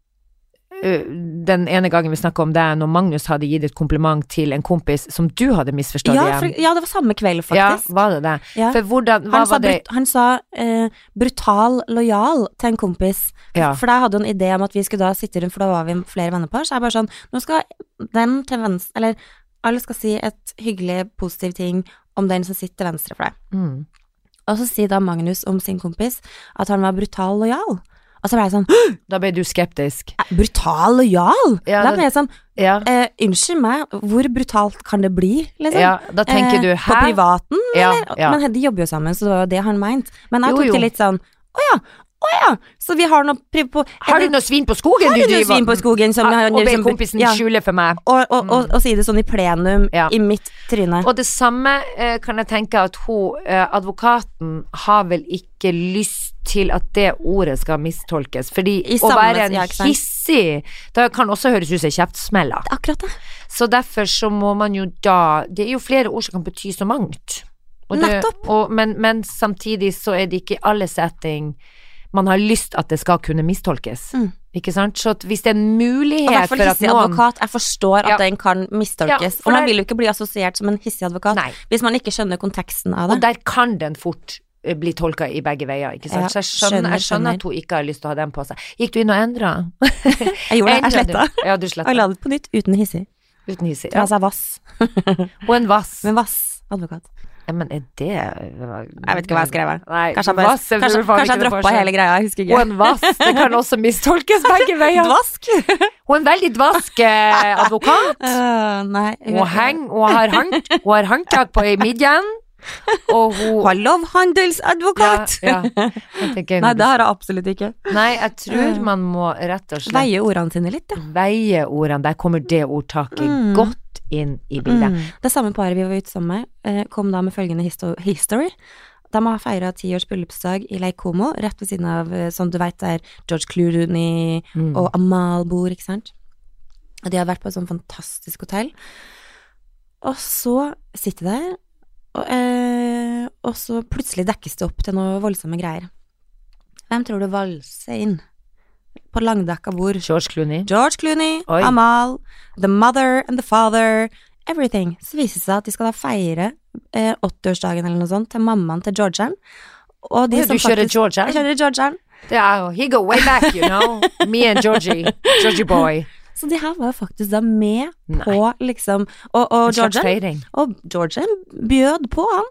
S1: eh, den ene gangen vi snakka om deg, når Magnus hadde gitt et kompliment til en kompis som du hadde misforstått
S2: ja, for,
S1: igjen.
S2: ja, det var samme kveld, faktisk.
S1: Ja, var det det?
S2: Ja.
S1: For hvordan, hva
S2: Han sa,
S1: var det
S2: brut, han sa eh, brutal lojal til en kompis.
S1: Ja.
S2: For jeg hadde jo en idé om at vi skulle da sitte rundt, for da var vi flere vennepar. Så jeg bare sånn, nå skal den til venstre, eller alle skal si et hyggelig, positiv ting om den som sitter til venstre for deg.
S1: mm.
S2: Og så sier da Magnus om sin kompis at han var brutal lojal. Og så ble jeg sånn «Hå!
S1: Da ble du skeptisk.
S2: Brutal lojal?!
S1: Ja,
S2: da
S1: det-
S2: ble jeg sånn
S1: Ja,
S2: eh, Unnskyld meg, hvor brutalt kan det bli, liksom?
S1: ja da tenker du
S2: eh, På
S1: her
S2: privaten?
S1: Ja,
S2: Eller?
S1: ja.
S2: Men de jobber jo sammen, så det var jo det han mente. Men jeg
S1: Jo,
S2: tok
S1: jo.
S2: det litt sånn Å ja! Å ja! Så vi har noe pri på
S1: Har du noe svin på skogen
S2: Har
S1: du
S2: du noe
S1: driver
S2: svin på skogen som
S1: Ja, Og ber
S2: som-
S1: kompisen
S2: ja.
S1: skjule for meg.
S2: Og, og, og, og si det sånn i plenum,
S1: Ja.
S2: i mitt tryne.
S1: Og det samme eh, kan jeg tenke at hun, eh, advokaten, har vel ikke lyst til at det ordet skal mistolkes. Fordi
S2: I
S1: å
S2: samme-
S1: være en
S2: ja, ikke sant?
S1: hissig, det kan også høres ut som kjeftsmeller.
S2: Akkurat det.
S1: Så derfor så må man jo da Det er jo flere ord som kan bety så mangt. Og det-
S2: Nettopp.
S1: Og, men, men samtidig så er det ikke i alle setting man har lyst at det skal kunne mistolkes.
S2: Mm.
S1: Ikke sant? Så at hvis det er en
S2: Og i
S1: mulighet
S2: hvert
S1: for
S2: fall
S1: at
S2: hissig
S1: noen
S2: advokat. Jeg forstår at
S1: Ja.
S2: den kan
S1: Ja,
S2: mistolkes.
S1: for
S2: og man
S1: det-
S2: vil jo ikke bli assosiert som en hissig advokat
S1: Nei.
S2: hvis man ikke skjønner konteksten av det.
S1: Og der kan den fort eh, bli tolka i begge veier, ikke sant.
S2: Ja,
S1: så jeg skjønner,
S2: skjønner,
S1: jeg skjønner at hun ikke har lyst til å ha den på seg. Gikk du inn og endra?
S2: Jeg gjorde det, jeg sletta.
S1: Ja, du
S2: Og
S1: sletta.
S2: la det på nytt uten hissig.
S1: Uten hissig.
S2: Ja.
S1: Ja.
S2: Altså vass.
S1: Og en vass.
S2: Men vass advokat.
S1: Ja, men er det
S2: Jeg vet ikke hva jeg skrev her.
S1: Nei,
S2: Kanskje jeg, bare,
S1: vass er
S2: kanskje,
S1: for faen
S2: kanskje
S1: ikke
S2: jeg
S1: noe
S2: droppa
S1: forskjell.
S2: hele greia, jeg husker
S1: Og
S2: ikke.
S1: en vask, det kan også mistolkes begge veier.
S2: Dvask!
S1: Hun er en veldig dvask eh, advokat.
S2: Øh, nei.
S1: Hun henger, hun har, hand, hun har håndtak på i midjen, og hun
S2: Hun lovhandelsadvokat!
S1: Ja, ja. Jeg tenker,
S2: Nei, det har jeg absolutt ikke.
S1: Nei, jeg tror man må rett og slett
S2: Veie ordene sine litt, ja.
S1: veie ordene. Der kommer det ordtaket
S2: Mm.
S1: godt inn i bildet.
S2: Det samme paret vi var ute sammen med, eh, kom da med følgende histo history. De har feira ti års bryllupsdag i Leikomo, rett ved siden av eh, sånn du veit der George Clooney
S1: Mm.
S2: og Amal bor, ikke sant. Og de hadde vært på et sånn fantastisk hotell. Og så sitter de der, og, eh, og så plutselig dekkes det opp til noe voldsomme greier. Hvem tror du valser inn på langdekka bord?
S1: George Clooney.
S2: George Clooney,
S1: Oi.
S2: Amal, the mother and the father, everything. Så viser det seg at de skal da feire eh, 80-årsdagen eller noe sånt til mammaen til Georgian. Og de
S1: Ja, du
S2: som
S1: kjører George,
S2: Jeg kjører Georgian.
S1: Ja, he go way back, you know. Me and Georgie. Georgie boy.
S2: Så de her var jo faktisk da med på,
S1: Nei.
S2: liksom Og, og
S1: En slags
S2: Georgian
S1: feiring.
S2: Og Georgian bjød på, han.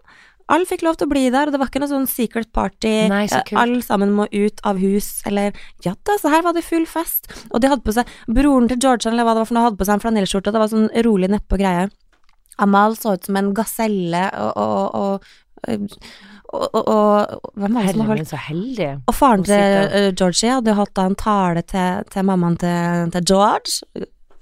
S2: Alle fikk lov til å bli der, og det var ikke noe sånn secret party.
S1: Nei, så
S2: eh,
S1: kult.
S2: Alle sammen må ut av hus, eller Ja da, så her var det full fest. Og de hadde på seg Broren til Georgian eller hva det var for noe, hadde på seg en flanellskjorte, og det var sånn rolig nedpå greie. Amal så ut som en gaselle, og og, og, og, og, og Hvem var det som
S1: Herre,
S2: holdt
S1: men så heldig.
S2: og faren
S1: Hun
S2: til
S1: sitter-
S2: eh, Georgie hadde jo hatt da en tale til, til mammaen til, til George,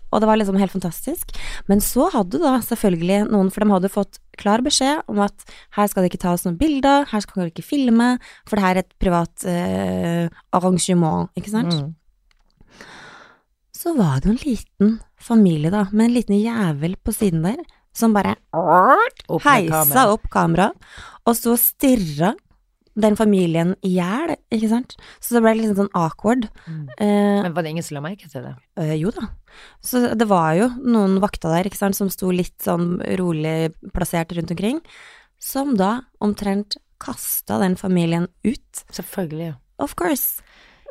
S2: og det var liksom helt fantastisk. Men så hadde da selvfølgelig noen, for de hadde fått klar beskjed om at her skal det ikke tas noen bilder, her skal dere ikke filme, for det her er et privat eh, arrangement, ikke sant?
S1: Mm.
S2: Så var det jo en liten familie da, med en liten jævel på siden der, som bare
S1: Opp med
S2: heisa
S1: kamera.
S2: opp kameraet, og så stirra den familien i hjel, ikke sant? Så det ble litt sånn awkward.
S1: Mm.
S2: Eh,
S1: Men var det ingen som la merke til det?
S2: Eh, jo da. Så det var jo noen vakter der, ikke sant, som sto litt sånn rolig plassert rundt omkring, som da omtrent kasta den familien ut.
S1: Selvfølgelig.
S2: Of course.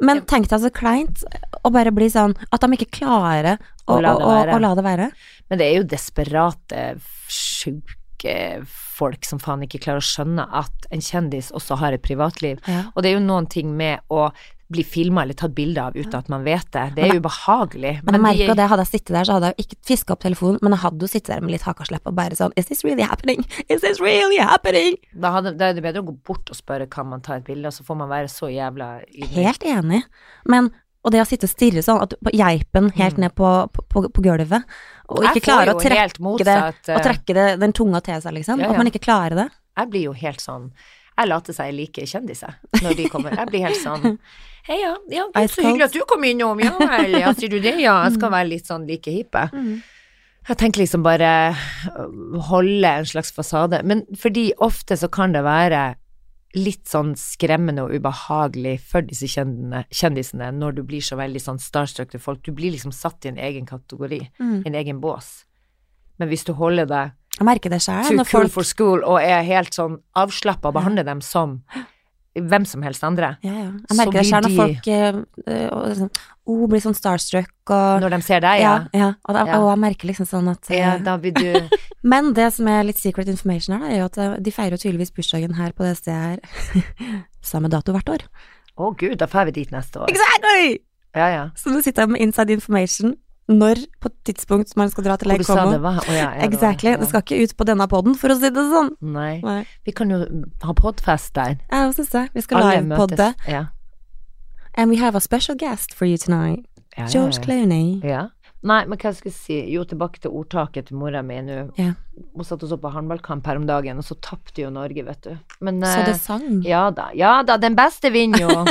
S2: Men tenk deg så kleint å bare bli sånn at de ikke klarer å, å,
S1: Å la det
S2: å,
S1: være.
S2: å la det være.
S1: Men det er jo desperate, sjuke folk som faen ikke klarer å skjønne at en kjendis også har et privatliv.
S2: Ja.
S1: Og det er jo noen ting med å bli filma eller tatt bilde av uten at man vet det. Det er jo ubehagelig.
S2: Men jeg
S1: de
S2: merker
S1: er-
S2: jo det, hadde jeg sittet der, så hadde jeg jo ikke fiska opp telefonen, men jeg hadde jo sittet der med litt hakaslepp og bare sånn Is this really happening? Is this really happening?
S1: Da, hadde, da er det bedre å gå bort og spørre kan man ta et bilde, og så får man være så jævla ydmyk.
S2: Helt enig. Men, og det å sitte og stirre sånn, at du- på geipen helt ned på, på, på, på gulvet, og
S1: Mm.
S2: ikke
S1: Jeg får
S2: klare
S1: jo
S2: å trekke,
S1: helt motsatt,
S2: å
S1: eh,
S2: trekke det, den tunga til seg, liksom.
S1: Ja, ja.
S2: At man ikke klarer det.
S1: Jeg blir jo helt sånn Jeg later seg like kjendiser når de kommer. Jeg blir helt sånn Hei, ja. ja gud,
S2: Ice
S1: så
S2: cold.
S1: hyggelig
S2: Mm.
S1: at du kom innom. Ja vel, ja, sier du det? Ja, jeg skal være litt sånn like hippe. Jeg tenker liksom bare øh, holde en slags fasade. Men fordi ofte så kan det være litt sånn skremmende og ubehagelig for disse kjendene, kjendisene når du blir så veldig sånn starstruck til folk. Du blir liksom satt i en egen kategori,
S2: Mm.
S1: en egen bås. Men hvis du holder deg
S2: Jeg merker det sjøl.
S1: too
S2: Når
S1: cool
S2: folk
S1: for school og er helt sånn avslappa og behandler dem som hvem som helst andre.
S2: ja, ja.
S1: Så
S2: Jeg merker det
S1: blir
S2: selv når
S1: de-
S2: folk eh, eh, og liksom, oh, blir sånn starstruck og
S1: Når de ser deg, ja.
S2: ja, ja, og, da,
S1: Ja.
S2: og jeg merker liksom sånn at eh,
S1: Ja, da blir du
S2: Men det som er litt secret information her, da, er jo at eh, de feirer jo tydeligvis bursdagen her på det stedet her samme dato hvert år.
S1: Å gud, da drar vi dit neste år.
S2: Exactly!
S1: Ja, ja.
S2: Så nå sitter jeg med inside information når på et tidspunkt man skal dra til
S1: Hvor
S2: Lake
S1: du sa
S2: Como.
S1: det var? Å, ja, ja, det var-
S2: Exactly.
S1: ja.
S2: Det skal ikke ut på denne poden, for å si det sånn.
S1: Nei.
S2: Nei.
S1: Vi kan jo ha podfest der.
S2: Ja, hva syns jeg? Vi skal
S1: Alle
S2: livepodde.
S1: møtes. Ja.
S2: And we have a special guest for you tonight.
S1: Ja, ja,
S2: George
S1: ja.
S2: Clooney.
S1: ja. Nei, men hva skal jeg si? Jo, tilbake til ordtaket til mora mi nå.
S2: Ja.
S1: Hun satt og så på håndballkamp her om dagen, og så tapte jo Norge, vet du. Men
S2: Så
S1: eh,
S2: det sang.
S1: Ja da, ja da, den beste vinner jo.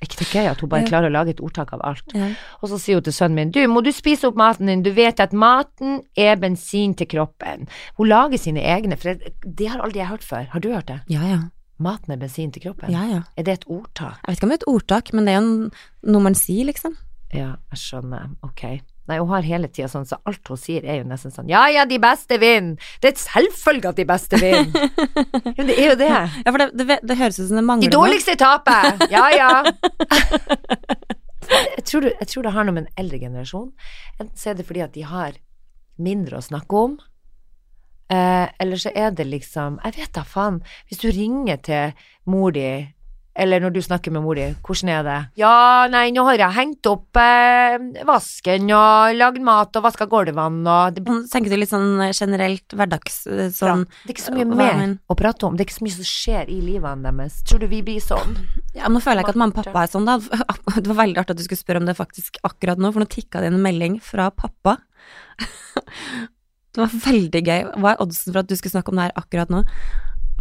S1: Er ikke det gøy at hun bare klarer å lage et ordtak av alt?
S2: Ja.
S1: Og så sier hun til sønnen min, du må du spise opp maten din, du vet at maten er bensin til kroppen. Hun lager sine egne, for det, det har aldri jeg hørt før. Har du hørt det?
S2: Ja, ja.
S1: Maten er bensin til kroppen.
S2: ja, ja.
S1: Er det et ordtak?
S2: Jeg vet ikke om det er et ordtak, men det er jo en- noe man sier, liksom.
S1: Ja, jeg skjønner, ok. Nei, hun har hele tida sånn, så alt hun sier er jo nesten sånn, ja ja, de beste vinner, det er et selvfølge at de beste vinner. Ja, Men det er jo det.
S2: Ja, for det, det, ve- det høres ut som det mangler
S1: De dårligste taper! Ja, ja. Jeg tror, du- jeg tror det har noe med en eldre generasjon. Enten så er det fordi at de har mindre å snakke om, eh, eller så er det liksom Jeg vet da faen. Hvis du ringer til mor di, eller når du snakker med mor di, hvordan er det? Ja, nei, nå har jeg hengt opp eh, vasken og lagd mat og vaska gulvene og det blir
S2: noe. Tenker du litt sånn eh, generelt hverdags... eh,
S1: bra.
S2: Sånn
S1: Det er ikke så mye
S2: Hva
S1: mer
S2: men-
S1: å prate om. Det er ikke så mye som skjer i livene deres. Tror du vi blir sånn?
S2: Ja, men nå føler jeg ikke at mamma og pappa er sånn, da. Det var veldig artig at du skulle spørre om det faktisk akkurat nå, for nå tikka det inn en melding fra pappa. Det var veldig gøy. Hva er oddsen for at du skulle snakke om det her akkurat nå?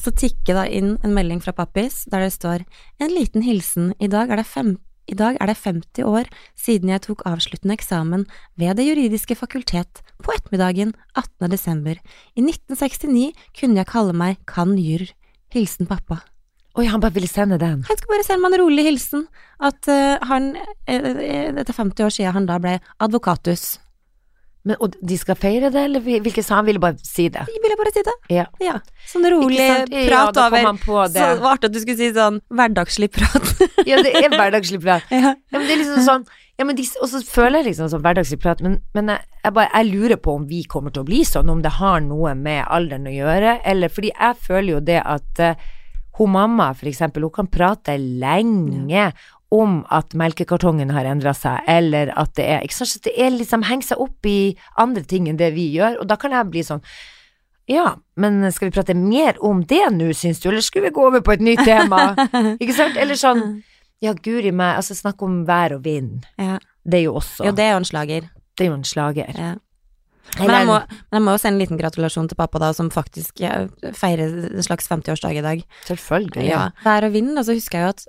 S2: Så tikker da inn en melding fra Pappis der det står En liten hilsen. I dag er det, fem, i dag er det 50 år siden jeg tok avsluttende eksamen ved Det juridiske fakultet på ettermiddagen 18. desember. I 1969 kunne jeg kalle meg Kan Jur. Hilsen pappa.
S1: Oi, han bare ville sende den.
S2: Han skulle bare sende meg en rolig hilsen. At eh, han eh, Etter 50 år siden han da ble advokatus.
S1: Men, og de skal feire det, eller hvil- hvilke sa han ville bare si det?
S2: Jeg ville bare si det.
S1: Ja.
S2: Ja. Sånn rolig
S1: Ikke sant? Ja,
S2: prat
S1: da kom
S2: over
S1: han på det.
S2: Så det var artig at du skulle si sånn hverdagslig prat.
S1: ja, det er hverdagslig prat.
S2: ja.
S1: Ja, men det er liksom sånn ja, men de, Og så føler jeg liksom sånn hverdagslig prat, men, men jeg, jeg, bare, jeg lurer på om vi kommer til å bli sånn, om det har noe med alderen å gjøre, eller Fordi jeg føler jo det at eh, hun mamma, for eksempel, hun kan prate lenge om at melkekartongen har endra seg, eller at det er Ikke sant, så det er liksom henger seg opp i andre ting enn det vi gjør, og da kan jeg bli sånn ja, men skal vi prate mer om det nå, syns du, eller skulle vi gå over på et nytt tema? Ikke sant? Eller sånn ja, guri meg, altså snakk om vær og vind.
S2: Ja.
S1: Det er jo også
S2: Jo, det er jo en slager.
S1: det er jo en slager.
S2: Ja. Men,
S1: Eller
S2: jeg
S1: en-
S2: må, men jeg må jo sende en liten gratulasjon til pappa, da, som faktisk ja, feirer en slags 50-årsdag i dag.
S1: Selvfølgelig.
S2: Ja. Vær og vind, og så husker jeg jo at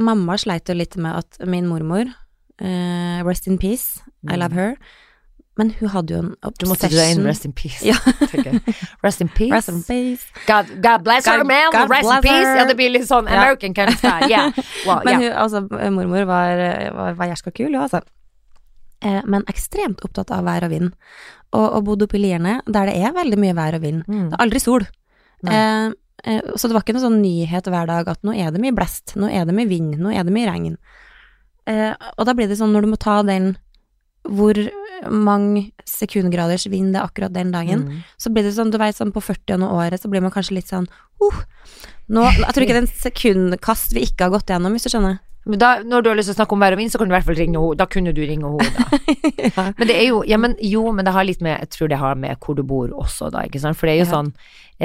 S2: mamma sleit jo litt med at min mormor, eh, rest in peace, I
S1: Mm.
S2: love her, men hun hadde jo en
S1: Du
S2: obsession.
S1: måtte dra inn Rest in Peace.
S2: Ja.
S1: tenker jeg. Rest in Peace.
S2: Rest in peace.
S1: God, God bless her,
S2: God-
S1: man.
S2: God
S1: rest in
S2: bless
S1: peace.
S2: her.
S1: Ja, det blir litt sånn
S2: Ja.
S1: American kind of style. Yeah. Wow,
S2: Men
S1: yeah.
S2: hun, altså, mormor var, var, var jærsk og kul, hun altså. Eh, Men ekstremt opptatt av vær og vind. Og, og bodde oppe i Lierne, der det er veldig mye vær og vind.
S1: Mm.
S2: Det er aldri sol.
S1: Nei.
S2: Eh, eh, så det var ikke noen sånn nyhet hver dag at nå er det mye blest, nå er det mye vind, nå er det mye regn. Eh, og da blir det sånn når du må ta den hvor mange sekundgraders vind det er akkurat den dagen,
S1: Mm.
S2: så blir det sånn, du vet sånn på 40 og året, så blir man kanskje litt sånn uh, nå, Jeg tror ikke det er en sekundkast vi ikke har gått gjennom, hvis du skjønner.
S1: Men da, når du har lyst til å snakke om vær og vind, så kan du i hvert fall ringe henne. Da kunne du ringe henne, da.
S2: Ja.
S1: Men det er jo Ja, men jo, men det har litt med Jeg tror det har med hvor du bor også, da, ikke sant. For det er jo
S2: Ja.
S1: sånn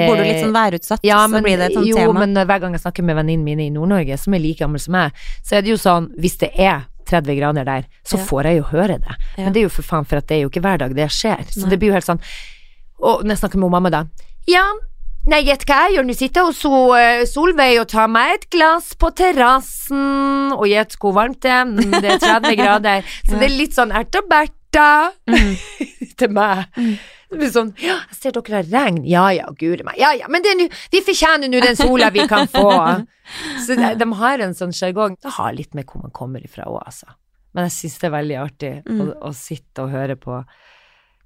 S2: Bor du
S1: eh,
S2: litt sånn værutsatt,
S1: Ja,
S2: så
S1: men,
S2: blir det et sånt
S1: jo,
S2: tema.
S1: men hver gang jeg snakker med venninnene mine i Nord-Norge, som er like gammel som meg, så er det jo sånn, hvis det er 30 grader der, så
S2: Ja.
S1: får jeg jo høre det.
S2: Ja.
S1: Men det er jo for faen, for at det er jo ikke hver dag det skjer. Så
S2: Nei.
S1: det blir jo helt sånn Og når jeg snakker med mamma, da Ja, nei, gjett hva jeg gjør, nå sitter hos so, Solveig og tar meg et glass på terrassen, og gjett hvor varmt det er, Mm, det er 30 grader. Så det er litt sånn ert og berta
S2: Mhm.
S1: til meg.
S2: Mm.
S1: Det blir sånn Ja, jeg ser dere har regn. Ja ja, guri meg. Ja ja, men det er nu- vi fortjener nå den sola vi kan få. Så de, de har en sånn sjargong. Det har litt med hvor man kommer ifra òg, altså. Men jeg syns det er veldig artig å,
S2: Mm.
S1: å sitte og høre på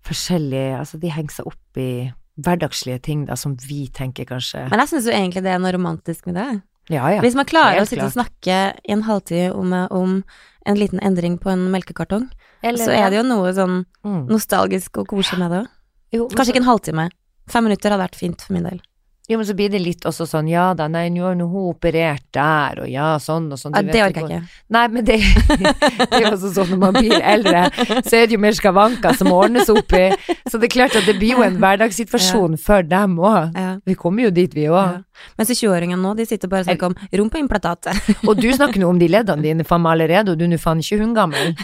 S1: forskjellige Altså, de henger seg opp i hverdagslige ting, da, som vi tenker kanskje
S2: Men jeg syns jo egentlig det er noe romantisk med det.
S1: Ja ja.
S2: Hvis man klarer
S1: helt
S2: å sitte og snakke i en halvtime om, om en liten endring på en melkekartong, så er det jo noe sånn
S1: mm.
S2: nostalgisk og koselig med det òg.
S1: jo, men
S2: Kanskje ikke en halvtime. Fem minutter hadde vært fint for min del.
S1: Jo, men så blir det litt også sånn, ja da, nei, nå har nå hun operert der, og ja, sånn og sånn.
S2: Ja,
S1: Du vet
S2: det
S1: jo
S2: orker
S1: hvor-
S2: jeg ikke.
S1: Nei, men det, det er jo også sånn når man blir eldre, så er det jo mer skavanker som må ordnes opp i. Så det er klart at det blir jo en hverdagssituasjon for dem òg.
S2: Ja.
S1: Vi kommer jo dit, vi òg.
S2: Ja. Mens 20-åringene nå, de sitter bare og snakker om rumpeimplantatet.
S1: Og du snakker nå om de leddene dine faen meg allerede, og du er nå faen ikke hun gammel.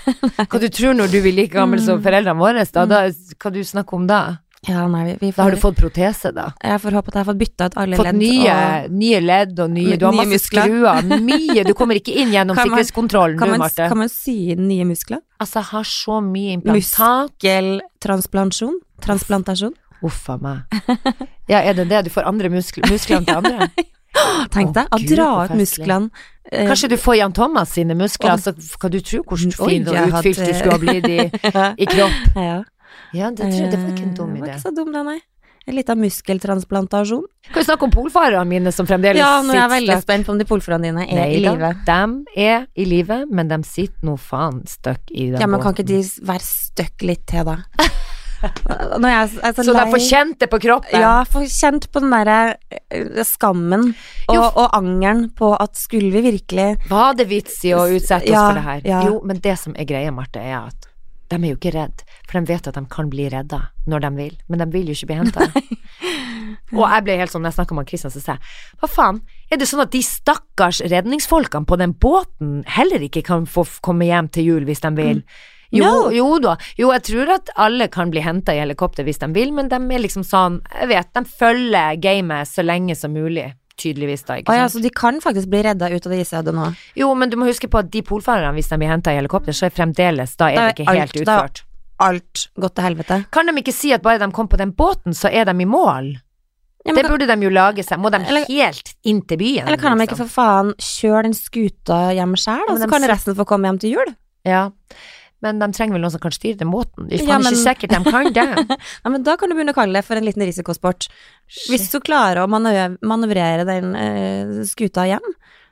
S1: Hva du tror når du blir like gammel
S2: Mm.
S1: som foreldrene våre, da, da hva du snakker om da?
S2: Ja, nei, vi, vi
S1: Da har
S2: får,
S1: du fått protese, da.
S2: jeg får håpe at jeg har fått bytta ut alle
S1: Fått
S2: ledd.
S1: nye,
S2: og-
S1: nye ledd og nye,
S2: Med
S1: du har
S2: nye
S1: masse
S2: muskler.
S1: skruer, mye, du kommer ikke inn gjennom
S2: Kan man-
S1: sikkerhetskontrollen
S2: kan,
S1: du,
S2: man,
S1: Marte.
S2: kan man sy inn nye muskler?
S1: Altså, jeg har så mye implantat.
S2: Geltransplantasjon? Transplantasjon?
S1: Uff a meg. Ja, er det det? Du får andre muskler, musklene til andre?
S2: Tenk
S1: Å,
S2: deg, å
S1: Gud,
S2: dra
S1: så
S2: ut
S1: festlig.
S2: musklene. eh,
S1: Kanskje du får Jan Thomas sine muskler,
S2: Oi.
S1: så kan du tro hvor
S2: Oi,
S1: fin og
S2: jeg hadde-
S1: utfylt du skulle ha blitt i, i kropp.
S2: ja.
S1: Ja, det, tror jeg, det var ikke en
S2: Eh,
S1: dum
S2: Det var
S1: idé.
S2: ikke så dum, det, nei. En liten muskeltransplantasjon.
S1: Kan vi snakke om polfarerne mine som fremdeles
S2: Ja, nå er jeg
S1: sitter
S2: veldig spent på om de polfarerne dine er i
S1: da.
S2: live.
S1: De er i live, men de sitter nå faen støkk i den
S2: Ja, men kan
S1: båten.
S2: ikke de s- være støkk litt til, da? Nå er jeg s- er så,
S1: Så de
S2: lei.
S1: får kjent det på kroppen?
S2: Ja, få kjent på den derre eh, skammen og,
S1: Jo.
S2: og angeren på at skulle vi virkelig
S1: Var det vits i å utsette oss
S2: Ja,
S1: for det her?
S2: ja.
S1: Jo, men det som er greia, Marte, er at de er jo ikke redd, for de vet at de kan bli redda når de vil, men de vil jo ikke bli henta. Og jeg ble helt sånn, når jeg snakka med han Christian, så sa jeg hva faen, er det sånn at de stakkars redningsfolkene på den båten heller ikke kan få f- komme hjem til jul hvis de vil? Jo,
S2: Mm. No.
S1: jo da. Jo, jeg tror at alle kan bli henta i helikopter hvis de vil, men de er liksom sånn Jeg vet, de følger gamet så lenge som mulig. Tydeligvis, da.
S2: Å
S1: Ikke
S2: ja,
S1: sant?
S2: så de kan faktisk bli redda ut av det isødet nå.
S1: Jo, men du må huske på at de polfarerne, hvis de blir henta i helikopter, så er fremdeles Da er
S2: Da
S1: det
S2: er
S1: ikke
S2: alt-
S1: helt
S2: da-
S1: utført.
S2: Alt gått til helvete.
S1: Kan de ikke si at bare de kom på den båten, så er de i mål?
S2: Ja, men
S1: det
S2: kan-
S1: burde de jo lage seg. Må de
S2: Eller-
S1: helt inn til byen?
S2: Eller kan de ikke
S1: liksom?
S2: for faen kjøre den skuta hjem sjæl,
S1: Ja,
S2: og
S1: men
S2: så
S1: de
S2: kan
S1: sit-
S2: resten få komme hjem til jul?
S1: Ja. Men de trenger vel noen som kan styre den båten? Det er
S2: Ja,
S1: faen
S2: men-
S1: ikke sikkert de kan det.
S2: Ja, men da kan du begynne å kalle det for en liten risikosport. Hvis
S1: Shit.
S2: du klarer å manøv manøvrere den eh, skuta hjem,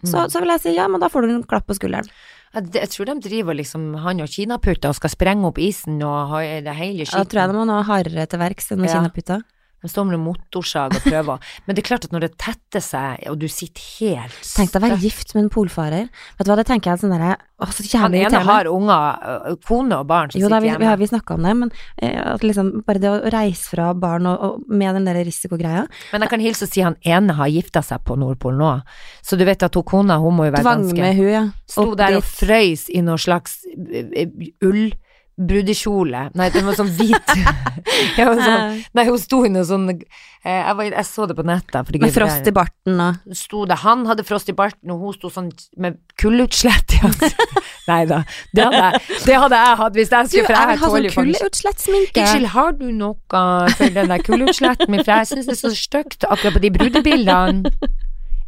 S1: Mm.
S2: så, så vil jeg si ja, men da får du en klapp på skulderen.
S1: Ja, det- Jeg tror de driver liksom han og kinaputter og skal sprenge opp isen og ha det hele
S2: Ja, da tror jeg
S1: skitten.
S2: de må nå hardere til verks enn med
S1: Ja.
S2: kinaputa.
S1: De står med motorsag og prøver. Men det er klart at når det tetter seg, og du sitter helt
S2: Tenk deg å være
S1: støtt.
S2: gift med en polfarer. Vet du hva, det tenker jeg sånn derre Å, så
S1: Han
S2: jævlig
S1: ene
S2: irriterende.
S1: har unger, ø, ø, kone og barn som
S2: Jo da,
S1: sitter
S2: vi, vi
S1: hjemme.
S2: har vi snakka om det, men eh, at liksom bare det å reise fra barn og, og med den der risikogreia
S1: Men jeg kan hilse og si han ene har gifta seg på Nordpolen nå. Så du vet at hun kona, hun må jo være
S2: Tvang
S1: danske.
S2: med hun, ja.
S1: Sto
S2: opp
S1: der og
S2: dit.
S1: frøys i noe slags ø, ø, ull. Brudekjole Nei, den var sånn hvit. Jeg var sånn, nei, hun sto i noe sånn eh, jeg, var, jeg så det på nettet. fordi
S2: Med
S1: gud, det
S2: frost i barten og
S1: sto det Han hadde frost i barten, og hun sto sånn med kullutslett i ansiktet. Nei da, det hadde jeg, det hadde jeg hatt hvis jeg
S2: Du, jeg
S1: skulle, for jeg
S2: vil ha
S1: her tåler
S2: sånn
S1: jo faktisk
S2: kullutslettsminke.
S1: Unnskyld, har du noe for den der kullutsletten min, for jeg syns det er så stygt akkurat på de brudebildene.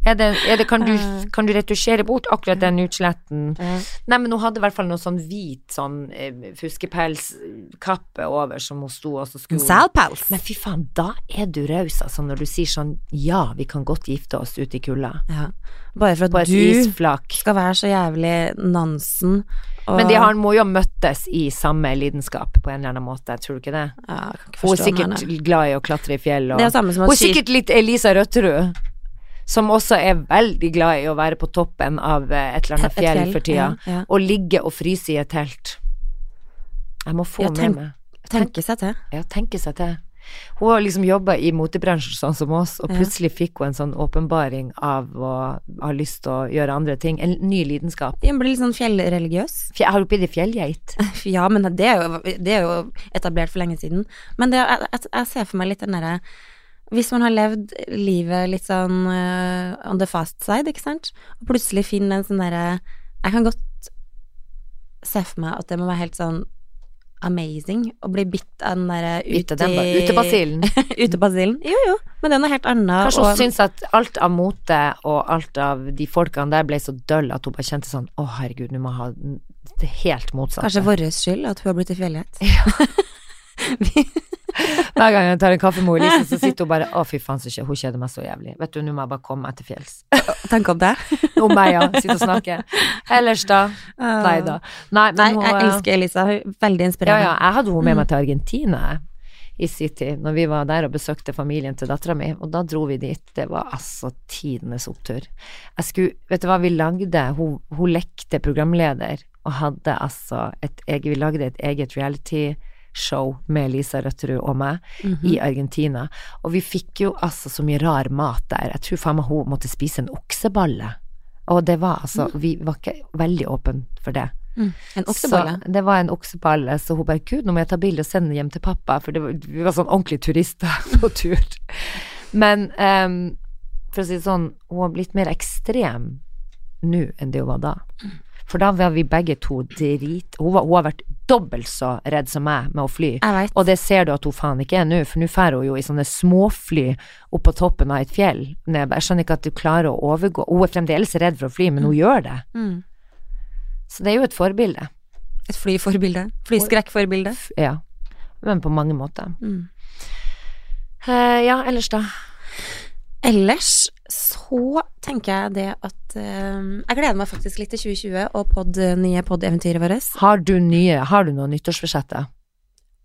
S1: Er det, er det, kan, du,
S2: Ah.
S1: kan du retusjere bort akkurat den utsletten? Nei, men hun hadde i hvert fall noe sånn hvit sånn eh, fuskepelskappe over som hun sto og så skulle hun-
S2: Salpals.
S1: Men fy faen, da er du raus, altså, når du sier sånn ja, vi kan godt gifte oss ute i kulda.
S2: Ja. Bare for
S1: På
S2: at
S1: et
S2: du
S1: isflak.
S2: skal være så jævlig Nansen og
S1: Men de har, må jo ha møttes i samme lidenskap på en eller annen måte, tror du ikke det?
S2: ja, jeg kan ikke
S1: Hun er
S2: forstå
S1: sikkert
S2: henne.
S1: glad i å klatre i fjell og
S2: Det er altså jo samme som
S1: Hun
S2: å
S1: er sikkert litt Elisa Røtterud, som også er veldig glad i å være på toppen av eh, et eller annet
S2: Et fjell,
S1: fjell, for tida,
S2: ja, ja.
S1: og ligge og fryse i et telt. Jeg må få
S2: Ja, tenk-
S1: med meg.
S2: tenke seg til.
S1: Ja, tenke seg til. Hun har liksom jobba i motebransjen sånn som oss, og
S2: Ja.
S1: plutselig fikk hun en sånn åpenbaring av å ha lyst til å gjøre andre ting. En ny lidenskap.
S2: Jeg blir litt sånn fjellreligiøs.
S1: Fje- Jeg har jo blitt ei fjellgeit.
S2: Ja, men det er jo, det er jo etablert for lenge siden. Men det, jeg, jeg- jeg ser for meg litt den derre Hvis man har levd livet litt sånn eh, on the fast side, ikke sant, og plutselig finner en sånn derre Jeg kan godt se for meg at det må være helt sånn amazing å bli bitt av den derre
S1: Ute den ba- Utebasillen.
S2: utebasillen. Jo, jo, men det er noe helt annet.
S1: Kanskje hun
S2: og-
S1: syns at alt av mote og alt av de folkene der ble så døll at hun bare kjente sånn Å, herregud, nå må jeg ha det helt motsatte.
S2: Kanskje vår skyld at hun har blitt i fjellhet.
S1: Hver gang jeg tar en kaffe med Elise, så sitter hun bare Å, fy faen, så kje- hun kjeder meg så jævlig. Vet du, nå må jeg bare komme meg til fjells.
S2: Tenk om det.
S1: Om meg, ja. Sitte og snakke. Ellers, da? Nei
S2: Eh,
S1: da. Nei, men
S2: Nei,
S1: hun,
S2: jeg
S1: eh,
S2: elsker Elisa. Hun er veldig
S1: Ja,
S2: inspirerende.
S1: ja, jeg hadde hun med meg til Argentina jeg, i City, når vi var der og besøkte familien til dattera mi, og da dro vi dit. Det var altså tidenes opptur. Jeg skulle, vet du hva, vi lagde, hun, hun lekte programleder, og hadde altså et eget, vi lagde et eget reality show med Lisa Røtterud og meg i Argentina, og vi fikk jo altså så mye rar mat der. Jeg tror faen meg hun måtte spise en okseballe, og det var altså, vi var ikke veldig åpen for det.
S2: Mm. En okseballe.
S1: Så det var en okseballe, så hun bare Gud, nå må jeg ta bilde og sende den hjem til pappa, for det var, vi var sånn ordentlige turister på tur. Men ehm, for å si det sånn, hun har blitt mer ekstrem nå enn det hun var da. For da var vi begge to drit Hun, var, hun har vært dobbelt så redd som meg med å fly.
S2: Jeg veit.
S1: Og det ser du at hun faen ikke er nå, for nå drar hun jo i sånne småfly opp på toppen av et fjell. Når Jeg bare skjønner ikke at du klarer å overgå Hun er fremdeles redd for å fly, men hun gjør det.
S2: Mm.
S1: Så det er jo et forbilde.
S2: Et flyforbilde. Flyskrekkforbilde.
S1: F- Ja. Men på mange måter.
S2: Mm.
S1: Eh, ja, ellers da?
S2: Ellers så tenker jeg det at eh, Jeg gleder meg faktisk litt til 2020 og pod, nye podieventyret vårt.
S1: Har du nye Har du noe nyttårsforsetter?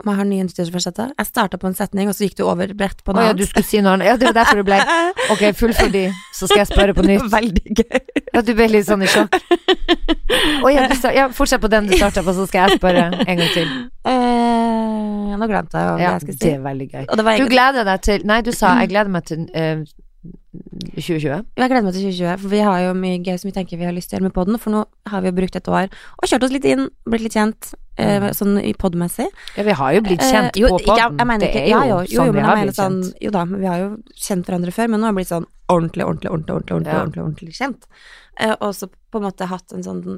S2: Om jeg har nye nyttårsforsetter? Jeg starta på en setning, og så gikk du over bredt på
S1: Å
S2: noe
S1: ja, du skulle si noe annet. Ja, det var derfor du ble
S2: annet.
S1: Ok, fullfør de, så skal jeg spørre på nytt.
S2: Veldig gøy.
S1: Ja, du ble litt sånn i sjokk. Å ja, du sa- ja, fortsett på den du starta på, så skal jeg spørre en gang til.
S2: Eh, nå glemte jeg hva
S1: Ja,
S2: jeg skulle
S1: det
S2: si. Mm.
S1: er veldig gøy.
S2: Og det var
S1: Du
S2: egentlig
S1: gleder deg til Nei, du sa jeg gleder meg til eh, 2020?
S2: Jeg gleder meg til 2020, for vi har jo mye gøy som vi tenker vi har lyst til å gjøre med podden, for nå har vi jo brukt et år og kjørt oss litt inn, blitt litt kjent, eh,
S1: Mm.
S2: sånn i podmessig.
S1: Ja, vi har jo blitt kjent
S2: Eh, jo,
S1: på
S2: ikke-
S1: podden.
S2: jeg, jeg mener
S1: det
S2: ikke,
S1: er jo,
S2: ja, jo, jo, jo,
S1: sånn
S2: men
S1: vi
S2: jeg
S1: har
S2: mener
S1: blitt
S2: sånn,
S1: kjent.
S2: jo da, men vi har jo kjent hverandre før, men nå har jeg blitt sånn ordentlig, ordentlig, ordentlig, ordentlig, ordentlig,
S1: Ja.
S2: ordentlig, ordentlig kjent. Eh, og så på en måte hatt en sånn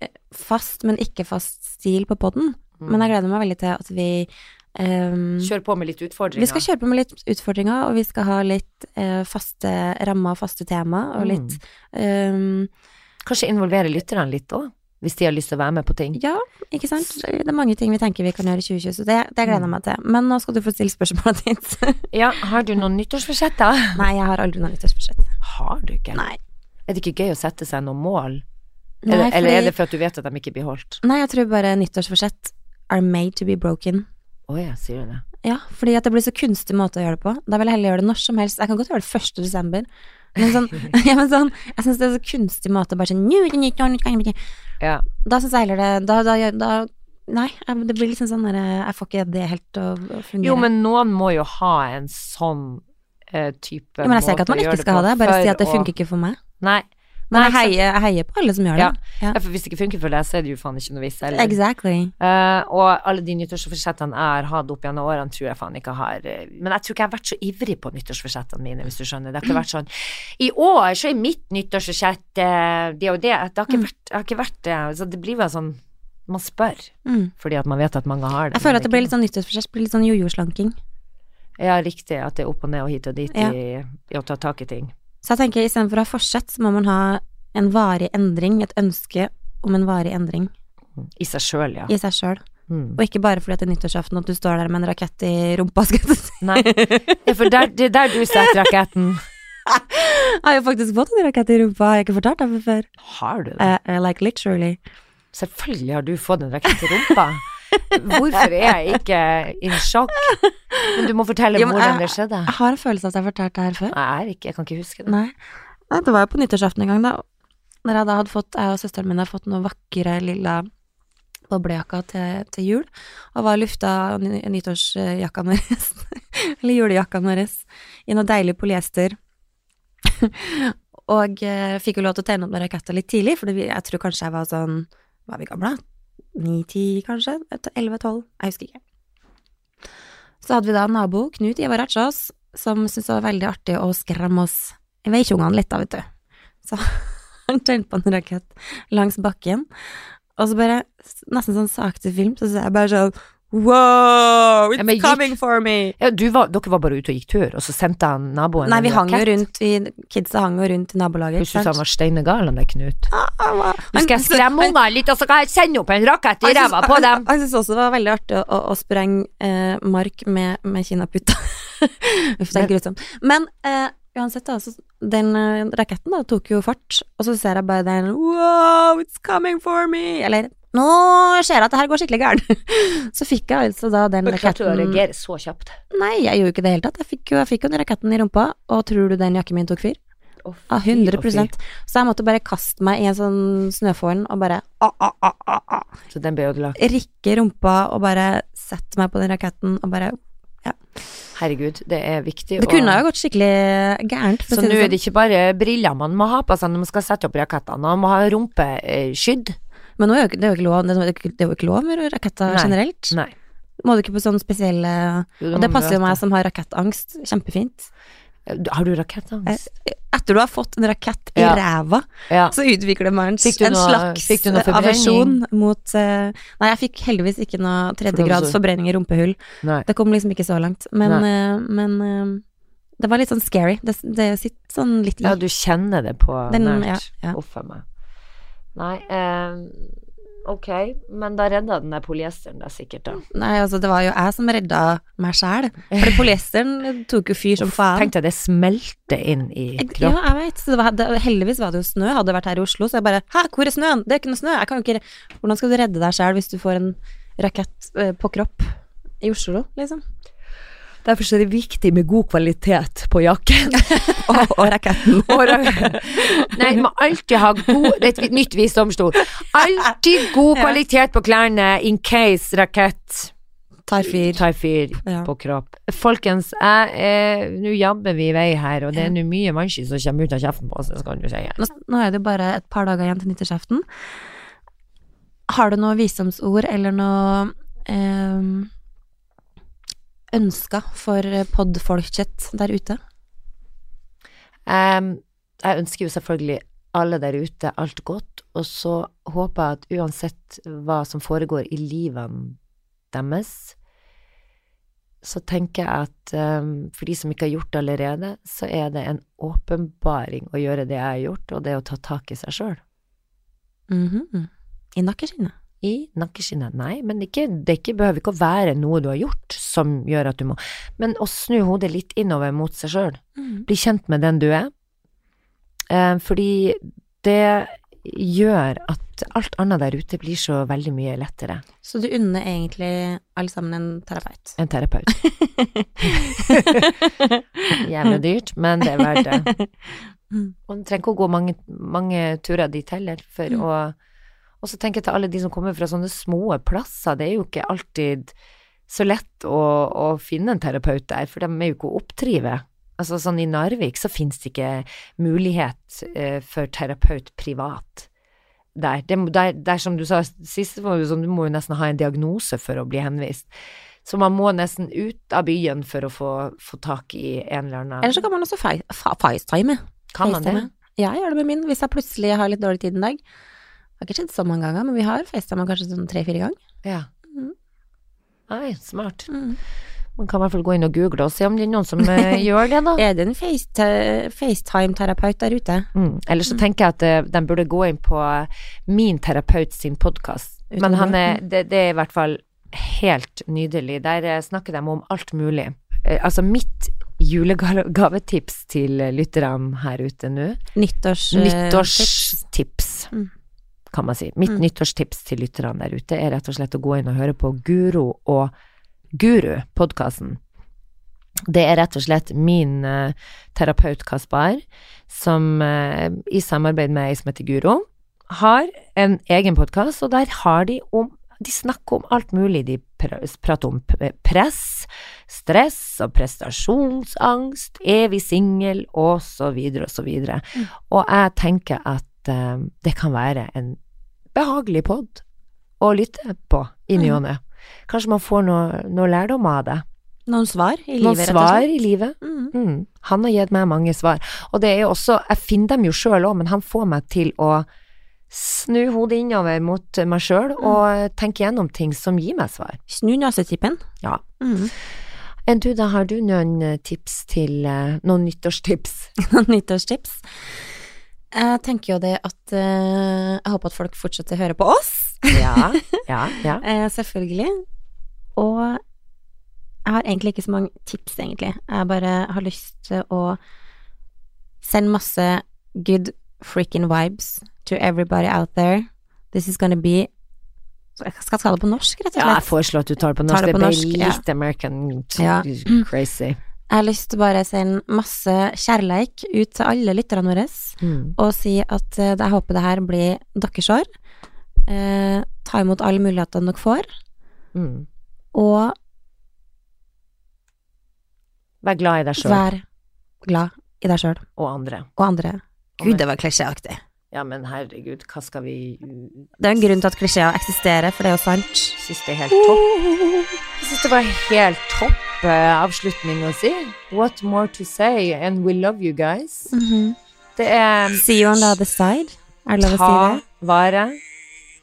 S2: eh, fast, men ikke fast stil på podden.
S1: Mm.
S2: Men jeg gleder meg veldig til at vi ehm,
S1: Kjør på med litt utfordringer.
S2: vi skal kjøre på med litt utfordringer, og vi skal ha litt eh, faste rammer og faste tema, og litt
S1: Mm.
S2: ehm,
S1: Kanskje involvere lytterne litt òg, hvis de har lyst til å være med på ting.
S2: Ja, ikke sant? Det er mange ting vi tenker vi kan gjøre i 2020, så det, det
S1: Mm.
S2: gleder jeg meg til. Men nå skal du få stille spørsmålet ditt.
S1: Ja, har du noen nyttårsforsetter?
S2: Nei, jeg har aldri noe nyttårsbudsjett.
S1: Har du ikke?
S2: Nei.
S1: Er det ikke gøy å sette seg noen mål?
S2: Nei,
S1: eller, eller er
S2: fordi-
S1: det for at du vet at de ikke blir holdt?
S2: Nei, jeg tror bare nyttårsforsett are made to be broken.
S1: Å ja, sier du det.
S2: Ja, fordi at det blir så kunstig måte å gjøre det på. Da vil jeg heller gjøre det når som helst. Jeg kan godt gjøre det 1. desember. Men sånn, ja, men sånn jeg syns det er så kunstig måte å bare sånn «Nå er det nytt år, nytt gang, nytt gang».
S1: Ja.
S2: Da syns jeg heller det Da, da, da Nei, jeg- det blir liksom sånn der Jeg får ikke det helt til å å fungere.
S1: Jo, men noen må jo ha en sånn eh,
S2: Jo,
S1: type
S2: men jeg sier ikke at man ikke skal ha det, bare si at det funker ikke for meg.
S1: Nei.
S2: Men
S1: Nei,
S2: jeg heier, jeg heier på alle som gjør det.
S1: Ja. Ja, for hvis det ikke funker for deg, så er det jo faen ikke noe vits heller.
S2: Exactly.
S1: Eh, og alle de nyttårsforsettene jeg har hatt opp gjennom årene, tror jeg faen ikke har eh, Men jeg tror ikke jeg har vært så ivrig på nyttårsforsettene mine, hvis du skjønner. Det har ikke vært sånn I år så er mitt nyttårsforsett eh, det og det. Det har ikke vært, jeg har ikke vært det. Så det blir vel sånn Man spør
S2: Mm.
S1: fordi at man vet at mange har det.
S2: Jeg føler at det blir litt
S1: litt
S2: sånn nyttårsforsett, blir litt sånn jojo-slanking.
S1: Ja, riktig. At det er opp og ned og hit og dit
S2: Ja.
S1: i, i å ta tak i ting.
S2: Så jeg tenker istedenfor å ha forsett, så må man ha en varig endring, et ønske om en varig endring
S1: I seg sjøl, ja.
S2: i seg sjøl.
S1: Mm.
S2: Og ikke bare fordi at det er nyttårsaften at du står der med en rakett i rumpa. Skal jeg til å si.
S1: Nei. Ja, for der, det er der du setter raketten.
S2: Jeg har jo faktisk fått en rakett i rumpa, har jeg ikke fortalt deg før?
S1: Har du det?
S2: Eh, eh, like literally.
S1: Selvfølgelig har du fått en rakett i rumpa. Hvorfor er jeg ikke in sjokk? Men du må fortelle
S2: Jo, men
S1: hvordan
S2: jeg-
S1: det skjedde.
S2: Jeg har en følelse av at jeg har fortalt det her før.
S1: Jeg er ikke, jeg kan ikke huske det.
S2: Nei. Nei, det var jo på nyttårsaften en gang, da. Når jeg da hadde fått, jeg og søsteren min hadde fått noen vakre lilla boblejakker til, til jul, og var lufta ny- nyttårsjakka vår, eller julejakka vår, i noe deilig polyester. og eh, fikk jo lov til å tegne opp noen raketter litt tidlig, for jeg tror kanskje jeg var sånn, hva er vi gamle? Ni-ti, kanskje? Elleve-tolv? Jeg husker ikke. Så hadde vi da en nabo, Knut Ivar Ertsås, som syntes det var veldig artig å skremme oss veikjungene litt, da, vet du. Så han tente på en rakett langs bakken, og så bare, s- nesten sånn sakte film, så ser jeg bare sånn Wow,
S1: Ja, men
S2: it's
S1: gikk-
S2: coming for me!
S1: Ja, du var, dere var bare ute og gikk tur, og så sendte han naboen
S2: Nei, vi
S1: en
S2: hang jo
S1: rakett.
S2: rundt, vi, kidsa hang jo rundt i nabolaget.
S1: Jeg
S2: ikke
S1: synes
S2: sant?
S1: han var steinegal, han der Knut.
S2: Ah, han var-
S1: Nå skal jeg skremme
S2: Han-
S1: ungene litt, og så kan jeg sende opp en rakett i
S2: han-
S1: ræva på
S2: han-
S1: dem.
S2: Han syntes også det var veldig artig å, å, å sprenge eh, mark med, med kinaputter. Uff, det er helt grusomt. Men eh, uansett, da, så den eh, raketten da, tok jo fart, og så ser jeg bare den Wow, it's coming for me! Eller nå ser jeg at det her går skikkelig gærent. Så fikk jeg altså da den raketten
S1: så kjapt.
S2: Nei, jeg gjorde ikke det i det hele tatt. Jeg fikk jo, jeg fikk jo den raketten i rumpa, og tror du den jakken min tok fyr? Ja, 100 Så jeg måtte bare kaste meg i en sånn snøforn og bare ah, ah, ah, ah, ah
S1: Så den ble ødelagt.
S2: rikke rumpa og bare sette meg på den raketten og bare
S1: Herregud, det er
S2: Det
S1: viktig. å-
S2: kunne jo gått skikkelig gærent. for å
S1: Så
S2: si
S1: nå er
S2: sånn.
S1: det ikke bare briller man må ha på seg når man skal sette opp rakettene, man må ha eh, rumpeskydd.
S2: Men nå er jo, ikke- det er jo ikke lov, det er jo ikke, det er jo ikke lov med raketter
S1: Nei.
S2: generelt.
S1: Nei.
S2: Må du ikke på sånne spesielle Og det passer jo meg som har rakettangst. Kjempefint.
S1: Har du rakettangst?
S2: Eh, Etter du har fått en rakett i
S1: Ja.
S2: ræva,
S1: Ja.
S2: så utvikler man en
S1: Fikk du noe-
S2: slags
S1: fikk du noe forbrenning?
S2: aversjon mot eh, Nei, jeg fikk heldigvis ikke noe tredjegrads
S1: For
S2: forbrenning i rumpehull.
S1: Nei.
S2: Det kom liksom ikke så langt. Men, eh, men eh, det var litt sånn scary. Det, det sitter sånn litt i.
S1: Ja, du kjenner det på
S2: Den-
S1: nært.
S2: ja, ja.
S1: Uff a meg. Nei, eh, ok. Men da redda den der polyesteren deg sikkert, da.
S2: Nei, altså det var jo jeg som redda meg sjæl. For polyesteren tok jo fyr som faen.
S1: Tenk deg, det smelter inn i
S2: Ja,
S1: kroppen.
S2: jeg vet. Så det var, det, heldigvis var det jo snø. Hadde det vært her i Oslo, så jeg bare Hæ, hvor er snøen? Det er ikke noe snø. Jeg kan jo ikke re- Hvordan skal du redde deg sjæl hvis du får en rakett eh, på kropp i Oslo, liksom?
S1: Derfor er det viktig med god kvalitet på jakken.
S2: Og, og raketten.
S1: Nei, man alltid ha god Det er et vi- nytt visdomsord. Alltid god
S2: Ja.
S1: kvalitet på klærne in case rakett.
S2: Tar fyr.
S1: Tar fyr
S2: Ja.
S1: på kropp. Folkens, jeg, eh, nå jabber vi i vei her, og det er nå mye mannskitt som kommer ut av kjeften på oss, det kan du si.
S2: Nå, nå er det jo bare et par dager igjen til nyttårsaften. Har du noe visdomsord eller noe eh, ønsker for podfolket der ute?
S1: Em, jeg ønsker jo selvfølgelig alle der ute alt godt, og så håper jeg at uansett hva som foregår i livene deres, så tenker jeg at em, for de som ikke har gjort det allerede, så er det en åpenbaring å gjøre det jeg har gjort, og det er å ta tak i seg sjøl.
S2: Mhm. I nakkeskinnet.
S1: I nakkeskinnet. Nei, men ikke, det ikke, behøver ikke å være noe du har gjort som gjør at du må Men å snu hodet litt innover mot seg sjøl.
S2: Mhm.
S1: Bli kjent med den du er. Eh, fordi det gjør at alt annet der ute blir så veldig mye lettere
S2: Så du unner egentlig alle sammen en terapeut?
S1: enn terapeut. Jævlig dyrt, men det er verdt det.
S2: Mm.
S1: Og du trenger ikke å gå mange, mange turer dit heller for
S2: Mm.
S1: å Og så tenker jeg til alle de som kommer fra sånne små plasser, det er jo ikke alltid så lett å, å finne en terapeut der, for de er jo ikke å oppdrive. Altså sånn i Narvik så finnes det ikke mulighet eh, for terapeut privat. Der. Det, må- der, der som du sa sist, var det jo sånn, du må jo nesten ha en diagnose for å bli henvist. Så man må nesten ut av byen for å få, få tak i en eller annen
S2: Eller så kan man også fa- fa- facetime.
S1: Kan man det?
S2: FaceTime. Ja, jeg gjør det med min hvis jeg plutselig har litt dårlig tid en dag. Det har ikke skjedd så mange ganger, men vi har facetime kanskje sånn tre-fire ganger.
S1: Ja.
S2: Mm.
S1: Nei, smart. Man kan i hvert fall gå inn og google og se om det er noen som eh, gjør det, da.
S2: Er det en facete- FaceTime-terapeut der ute?
S1: Mm. Eller så tenker jeg at eh, den burde gå inn på min terapeut sin podkast.
S2: Uten
S1: Men han er,
S2: brøken.
S1: det, det er i hvert fall helt nydelig. Der eh, snakker de om alt mulig. Eh, Altså mitt julegavetips til eh, lytterne her ute nå
S2: Nyttårs... eh,
S1: Nyttårstips,
S2: Mm.
S1: kan man si. Mitt
S2: Mm.
S1: nyttårstips til lytterne der ute er rett og slett å gå inn og høre på Guro og Guru, podkasten. Det er rett og slett min eh, terapeut Kaspar, som eh, i samarbeid med ei som heter Guro, har en egen podkast, og der har de om de snakker om alt mulig. De pr- prater om p- press, stress og prestasjonsangst, evig singel og så videre og så videre. Og jeg tenker at eh, det kan være en behagelig pod å lytte på i
S2: Mm.
S1: ny og ne. Kanskje man får noe, noe lærdom av det.
S2: Noen svar i
S1: Noen
S2: livet, rett og
S1: svar
S2: slett?
S1: i livet.
S2: Mm.
S1: Mm. Han har gitt meg mange svar. Og det er jo også Jeg finner dem jo sjøl òg, men han får meg til å snu hodet innover mot meg sjøl
S2: Mm.
S1: og tenke gjennom ting som gir meg svar.
S2: Snu nesetippen.
S1: Ja.
S2: Mm.
S1: Enn du, da, har du noen eh, tips til eh, Noen nyttårstips?
S2: Noen nyttårstips. Jeg tenker jo det at eh, Jeg håper at folk fortsetter å høre på oss,
S1: Ja. Ja. ja.
S2: eh, selvfølgelig. Og jeg har egentlig ikke så mange tips, egentlig. Jeg bare har lyst til å sende masse good freaking vibes to everybody out there. This is gonna be Jeg skal ta det på norsk, rett og
S1: Ja, jeg
S2: slett.
S1: foreslår at du tar det på norsk.
S2: Tar det
S1: det
S2: på
S1: ble
S2: norsk, ja.
S1: litt American
S2: Ja.
S1: crazy.
S2: Jeg har lyst til bare å sende masse kjærleik ut til alle lytterne våre.
S1: Mm.
S2: og si at eh, jeg håper det her blir deres år. Eh, ta imot alle mulighetene dere får,
S1: Mm.
S2: og
S1: Vær glad i deg sjøl
S2: vær glad i deg sjøl
S1: og andre.
S2: og andre.
S1: Gud,
S2: det var klisjéaktig.
S1: Ja, men herregud, hva skal vi
S2: Det er en grunn til at klisjeer eksisterer, for det er jo sant.
S1: Syns det er helt topp. Jeg syns det var helt topp eh, avslutning å si. What more to say, and we love you guys.
S2: Mhm.
S1: Det er
S2: See you on the other side. Er det lov å si
S1: ta
S2: det?
S1: vare,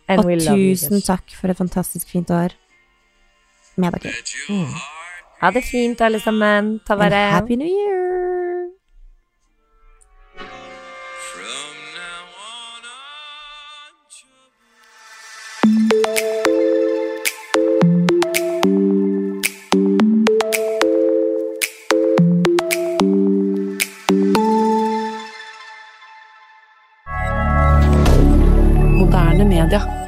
S1: and
S2: Og
S1: we love you
S2: tusen
S1: guys.
S2: takk for et fantastisk fint år med dere.
S1: Ha det fint, alle sammen. Ta
S2: And
S1: vare.
S2: happy new year!
S3: From now on, I'm troubled.
S4: Moderne media.